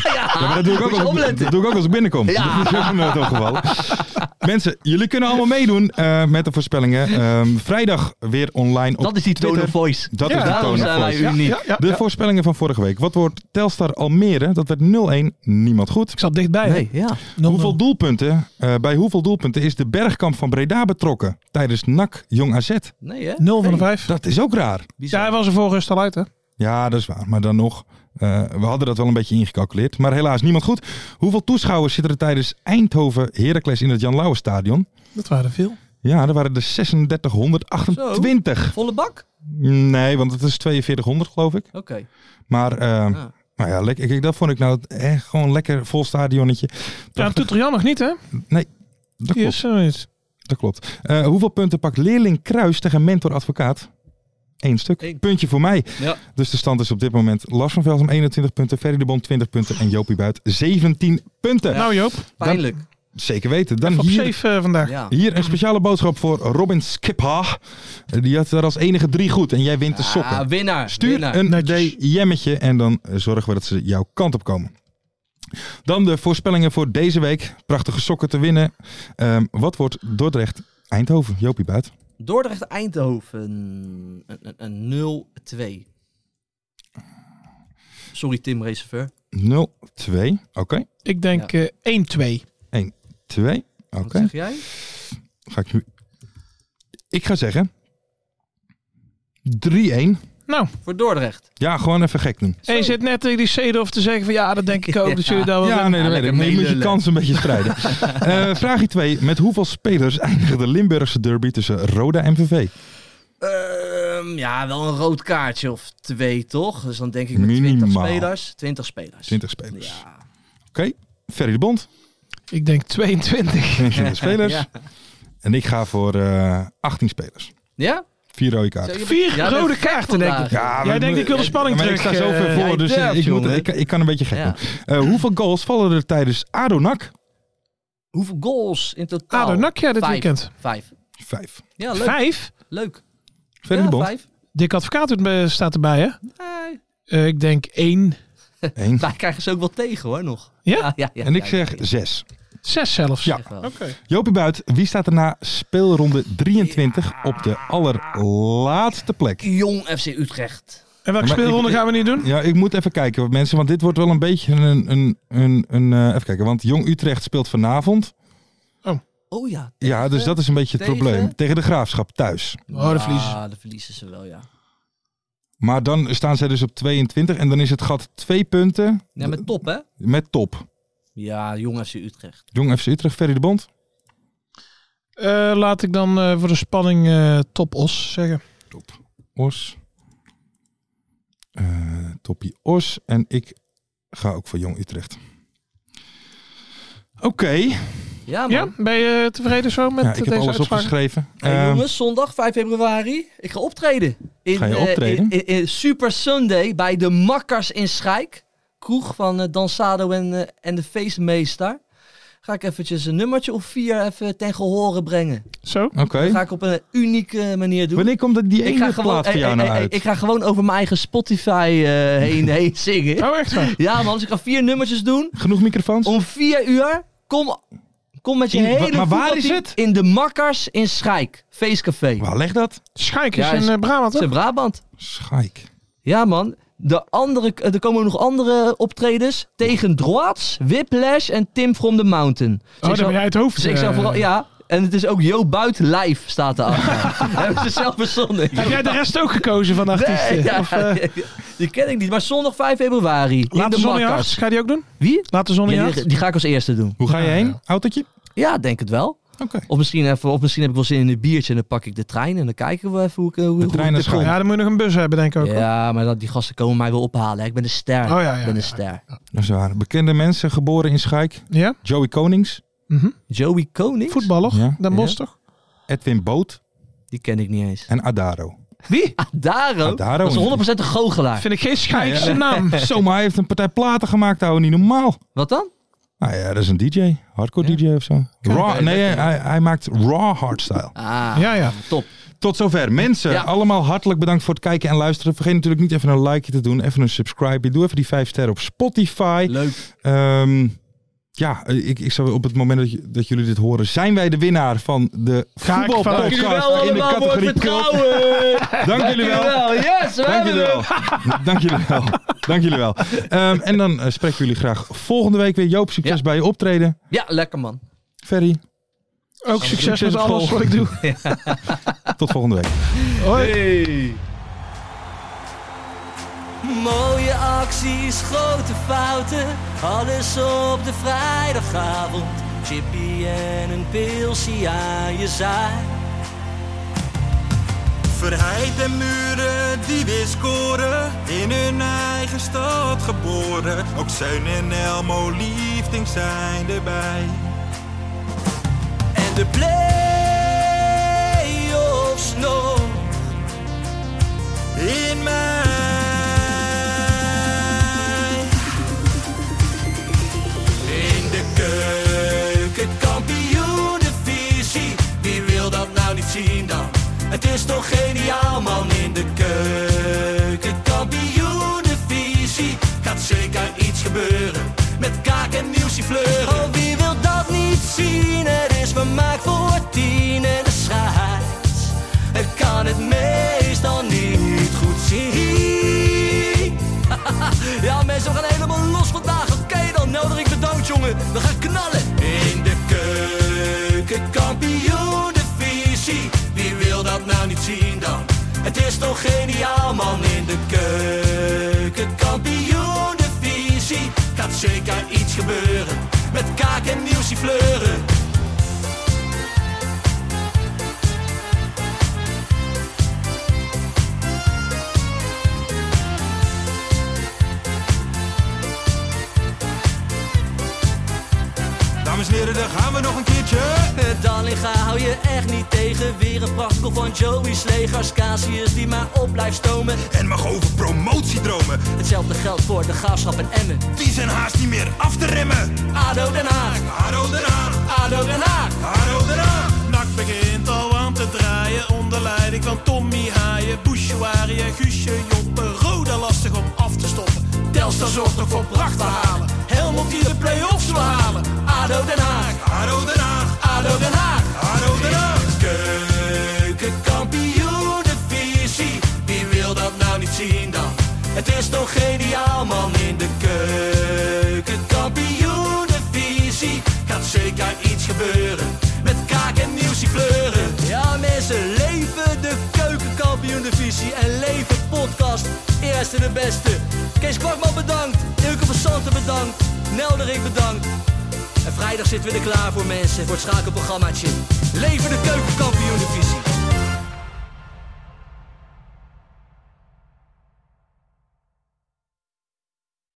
S3: Ja, maar dat doe ik
S1: Moet je
S3: ook, als, ik-
S1: opletten.
S3: dat doe ik ook als ik binnenkom.
S1: Ja.
S3: Dat is dus ook nooit opgevallen. Mensen, jullie kunnen allemaal meedoen eh, met de voorspellingen. Ehm, vrijdag weer online op
S1: Dat is die tone
S3: Twitter.
S1: of voice.
S3: Dat
S4: Ja,
S3: is de
S1: daarom
S3: tone of
S1: zijn wij
S3: voice.
S1: u- Uniek.
S4: Ja, ja,
S3: De
S4: ja.
S3: voorspellingen van vorige week. Wat wordt Telstar Almere? Dat werd 0-1. Niemand goed.
S4: Ik zat dichtbij.
S1: Nee, ja.
S3: Hoeveel doelpunten, eh, bij hoeveel doelpunten is de Bergkamp van Breda betrokken tijdens NAC Jong AZ?
S1: Nee, hè?
S4: 0 van de 5.
S3: Dat is ook raar.
S4: Ja, hij was er voor rust al uit, hè?
S3: Ja, dat is waar. Maar dan nog, eh, we hadden dat wel een beetje ingecalculeerd. Maar helaas, niemand goed. Hoeveel toeschouwers zitten er tijdens Eindhoven Heracles in het Jan Lauwe Stadion?
S4: Dat waren er veel.
S3: Ja, er waren er 3628.
S1: Volle bak?
S3: Nee, want het is 4200 geloof ik.
S1: Oké.
S3: Maar eh,
S1: Ja.
S3: nou ja, lekker, kijk, dat vond ik nou echt gewoon lekker vol stadionnetje.
S4: Ja,
S3: Prachtig.
S4: Toetrian nog niet, hè?
S3: Nee, dat
S4: Die
S3: klopt.
S4: is eh, er nog niet.
S3: Dat klopt. Eh, hoeveel punten pakt leerling Kruis tegen mentor advocaat? Eén stuk.
S1: Eén.
S3: Puntje voor mij.
S1: Ja.
S3: Dus de stand is op dit moment Lars van Velsen 21 punten, Ferry de Bond 20 punten en Jopie Buit 17 punten.
S4: Nou Joop,
S1: Pijnlijk.
S3: Zeker weten. Dan
S4: even op
S3: hier
S4: safe eh, vandaag.
S1: Ja.
S3: Hier een speciale boodschap voor Robin Skipha. Die had er als enige drie goed en jij wint de sokken.
S1: Ah, winnaar.
S3: Stuur
S1: winnaar.
S3: een
S4: Netjes.
S3: DM'tje en dan eh, zorgen we dat ze jouw kant op komen. Dan de voorspellingen voor deze week. Prachtige sokken te winnen. Ehm, wat wordt Dordrecht Eindhoven? Jopie Buit.
S1: Dordrecht-Eindhoven. Een, een, een 0-2. Sorry, Tim Reserveur.
S3: 0-2. Oké.
S4: Ik denk eh 1-2.
S3: 2. Oké.
S1: Wat zeg jij?
S3: Ga ik nu. Ik ga zeggen. 3-1.
S4: Nou,
S1: Voor Dordrecht.
S3: Ja, gewoon even gek doen.
S4: en je zit net tegen die Seedorf te zeggen van ja, dat denk ik ook. Dat jullie daar wel
S3: Ja,
S4: winnen.
S3: nee, dat weet
S1: Oh, lekker
S3: ik. Maar Je moet je
S1: meelullen.
S3: kans een beetje strijden. Eh vraagje 2. Met hoeveel spelers eindigde de Limburgse derby tussen Roda en VV?
S1: Ehm, ja, wel een rood kaartje of twee, toch? Dus dan denk ik met 20
S3: Minimaal.
S1: spelers. 20 spelers.
S3: 20 spelers.
S1: Ja.
S3: Ferry de Bond,
S4: Ik denk 22.
S3: 22 spelers.
S1: Ja?
S3: En ik ga voor eh 18 spelers.
S1: ja?
S3: Vier rode kaarten. eh,
S1: Zeg je-
S4: Vier
S1: Jij bent
S4: rode
S1: gek
S4: kaarten, denk
S1: vandaag.
S4: ik. Jij denkt, ik wil de spanning
S3: maar
S4: terug.
S3: ik sta zo ver
S4: eh,
S3: voor,
S1: jij
S3: dus
S1: durft,
S3: ik, moet,
S1: jongen.
S3: ik, ik kan een beetje gek
S1: Ja.
S3: doen. Eh, hoeveel goals vallen er tijdens ADO-NAC?
S1: Hoeveel goals in totaal?
S4: ADO NAC, ja, dit
S1: Vijf.
S4: weekend.
S1: Vijf.
S3: Vijf.
S1: Ja, leuk.
S4: Vijf?
S1: Leuk.
S3: Ferry
S1: ja,
S3: de Bond,
S1: vijf.
S4: Dick Advocaat doet me- staat erbij, hè?
S1: Nee.
S4: Eh, ik denk 1,
S3: één.
S1: Wij krijgen ze ook wel tegen, hoor, nog.
S4: Ja?
S1: ja, ja,
S3: En ik
S1: ja,
S3: zeg
S1: ja, ja.
S3: zes.
S4: 6 zelfs.
S3: Ja.
S1: Echt wel.
S3: Jopie Buit, wie staat er na speelronde 23 op de allerlaatste plek?
S1: Jong FC Utrecht.
S4: En welke
S3: Maar ik-
S4: speelronde
S3: ik-
S4: gaan we niet doen?
S3: Ja, ik moet even kijken, want mensen. Want dit wordt wel een beetje een... een, een, een eh, even kijken, want Jong Utrecht speelt vanavond.
S1: Oh ja.
S3: Ja, dus dat is een beetje het
S1: Tegen?
S3: probleem. Tegen de Graafschap thuis.
S4: Oh, de verliezen ze.
S1: Ah, dat verliezen ze wel, ja.
S3: Maar dan staan zij dus op 22 en dan is het gat twee punten
S1: Ja, met top, hè?
S3: met top.
S1: Ja, Jong FC Utrecht.
S3: Jong FC Utrecht, Ferry de Bond.
S4: Eh, laat ik dan eh, voor de spanning eh, top os zeggen.
S3: Top. Os. Eh toppie Os. En ik ga ook voor Jong Utrecht. Oké.
S1: Ja, man.
S4: Ja, ben je eh, tevreden zo met
S3: Ja, ik heb
S4: deze
S3: alles
S4: uitspraak?
S3: opgeschreven.
S1: Hey,
S3: Eh,
S1: jongens, zondag 5 februari. Ik ga optreden. In,
S3: Ga je
S1: eh,
S3: optreden?
S1: in, in- in Super Sunday bij de Makkers in Schijk. Kroeg van eh, Dansado en, eh, en de feestmeester. Ga ik eventjes een nummertje of vier even ten gehore brengen.
S4: Zo?
S3: Oké.
S1: Dat ga ik op een unieke manier doen.
S3: Wanneer komt dat die
S1: ik, ga
S3: ene
S1: gewoon,
S3: plaat voor
S1: eh,
S3: jou
S1: eh,
S3: nou
S1: eh,
S3: uit?
S1: ik ga gewoon over mijn eigen Spotify eh, heen, heen zingen.
S4: Oh, echt waar?
S1: Ja man, dus ik ga vier nummertjes doen.
S3: Genoeg microfoons?
S1: Om vier uur, kom, kom met je
S3: In- wa-
S1: hele
S3: maar waar
S1: voetbalteam
S3: is het?
S1: In de Makkers in Schijk. Feestcafé.
S3: Waar leg dat?
S4: Schijk is
S1: Ja,
S4: in
S1: is-
S4: eh,
S1: Dat
S4: Brabant,
S1: is
S4: hè?
S1: in Brabant.
S3: Schaik.
S1: Ja, man. De andere, eh, er komen ook nog andere optredens. Tegen Droats, Whiplash en Tim from the Mountain. Dus
S4: Oh,
S1: ik
S4: dan
S1: zou-
S4: ben jij het hoofd.
S1: dus ik zou
S4: eh.
S1: vooral, ja. En het is ook Jo Buit live staat erachter. Hebben ze zelf verzonnen.
S4: Heb jij de rest ook gekozen van de artiesten?
S1: Nee, ja,
S4: Of, eh,
S1: die ken ik niet. Maar zondag 5 februari. in
S4: Laat de
S1: de
S4: zon in je hart.
S1: Makkers.
S4: Ga je die ook doen?
S1: Wie?
S4: Laat de zon in je
S1: Ja,
S4: hart.
S1: die, die ga ik als eerste doen.
S3: Hoe ga je
S4: Ja,
S3: heen?
S4: ja.
S3: Autootje?
S1: Ja, denk het wel.
S3: Oké.
S1: Of misschien, even, of misschien heb ik wel zin in een biertje en dan pak ik de trein en dan kijken we even hoe ik... eh, Hoe,
S3: De
S1: hoe
S3: trein
S1: ik
S3: is gewoon.
S4: Ja, dan moet je nog een bus hebben, denk ik ook.
S1: Ja, maar dat, die gasten komen mij wel ophalen. hè. Ik ben een ster.
S4: Oh ja,
S1: ik
S4: ja.
S1: ben
S4: ja.
S1: een ster.
S3: Dat is waar. Bekende mensen, geboren in Schaik.
S4: ja?
S3: Joey Konings,
S4: Mhm.
S1: Joey Konings?
S4: Voetballer,
S3: Ja.
S4: Den Bosch
S1: Ja.
S4: toch?
S3: Edwin Boot
S1: Die ken ik niet eens.
S3: en Adaro.
S4: Wie?
S1: Adaro?
S3: Adaro
S1: Dat is 100% een goochelaar.
S4: Vind ik geen schijkse naam.
S3: Zo, maar hij heeft een partij platen gemaakt, ouwe, niet normaal.
S1: Wat dan?
S3: Nou ja, dat is een DJ. Hardcore DJ of zo. Raw, nee, hij, hij maakt raw hardstyle.
S1: Ah,
S4: Ja, ja.
S1: top.
S3: Tot zover. Mensen,
S1: Ja.
S3: allemaal hartelijk bedankt voor het kijken en luisteren. Vergeet natuurlijk niet even een likeje te doen, even een subscribe. Doe even die 5 sterren op Spotify.
S1: Leuk.
S3: Ehm, ja, ik, ik zou op het moment dat, je- dat jullie dit horen, zijn wij de winnaar van de
S4: Ga ik
S1: Dank
S3: voetbalpodcast
S1: jullie wel
S3: in de
S1: allemaal voor het
S3: categorie Cult.
S1: vertrouwen.
S3: Dank jullie
S1: Jullie
S3: wel.
S1: wel. Yes, we
S3: Dank
S1: hebben
S3: jullie
S1: hem.
S3: wel. Dank jullie wel. Dank jullie wel. Ehm, en dan eh, spreken we jullie graag volgende week weer. Joop, succes
S1: Ja.
S3: bij je optreden.
S1: Ja, lekker man.
S3: Ferry,
S4: Ook succes
S3: Succes
S4: met
S3: op
S4: alles
S3: school.
S4: wat ik doe.
S3: tot volgende week.
S4: Hoi.
S7: Mooie acties, grote fouten, alles op de vrijdagavond. Chippy en een pilsie aan je zaai.
S2: Verheid en muren die weer scoren, in hun eigen stad geboren. Ook Zijn en Elmo liefding zijn erbij.
S7: En de play.
S1: nou Oh, zien dan. Het is toch geniaal man in de keuken. Kampioenenvisie. Gaat zeker iets gebeuren. Met kaak en nieuwsie fleuren.
S3: Dames en heren, daar gaan we nog een keertje.
S1: Dallinga hou je echt niet tegen. Weer een prachtkel van Joey's legers. Casius die maar op blijft stomen.
S3: En mag over promotiedromen.
S1: Hetzelfde geldt voor de gaafschap en Emmen.
S3: Die zijn haast niet meer af te remmen.
S1: ADO Den Haag.
S3: Haro eraan,
S1: ADO Den Haag.
S3: haro eraan.
S8: Nak begint al aan te draaien onder leiding van Tommy Haaien, Bouchouari en Guusje Joppen. Roda lastig om af te stoppen.
S1: Telstar zorgt nog voor pracht te halen. Helmond die de play-offs wil halen. ADO Den Haag.
S3: Haro eraan,
S1: ADO Den Haag.
S3: haro eraan.
S1: Keukenkampioenenvisie. Wie wil dat nou niet zien dan? Het is toch geniaal man in de keukenkampioenenvisie. Gaat zeker iets gebeuren. Met kaak en nieuwsie kleuren. Ja mensen, leven de keukenkampioenenvisie. En leven podcast. Eerste de beste. Kees Kwakman bedankt. Ilke van Santen bedankt. Nelderik bedankt. En vrijdag zitten we er klaar voor mensen, voor het schakelprogrammaatje. Leven de keukenkampioen divisie.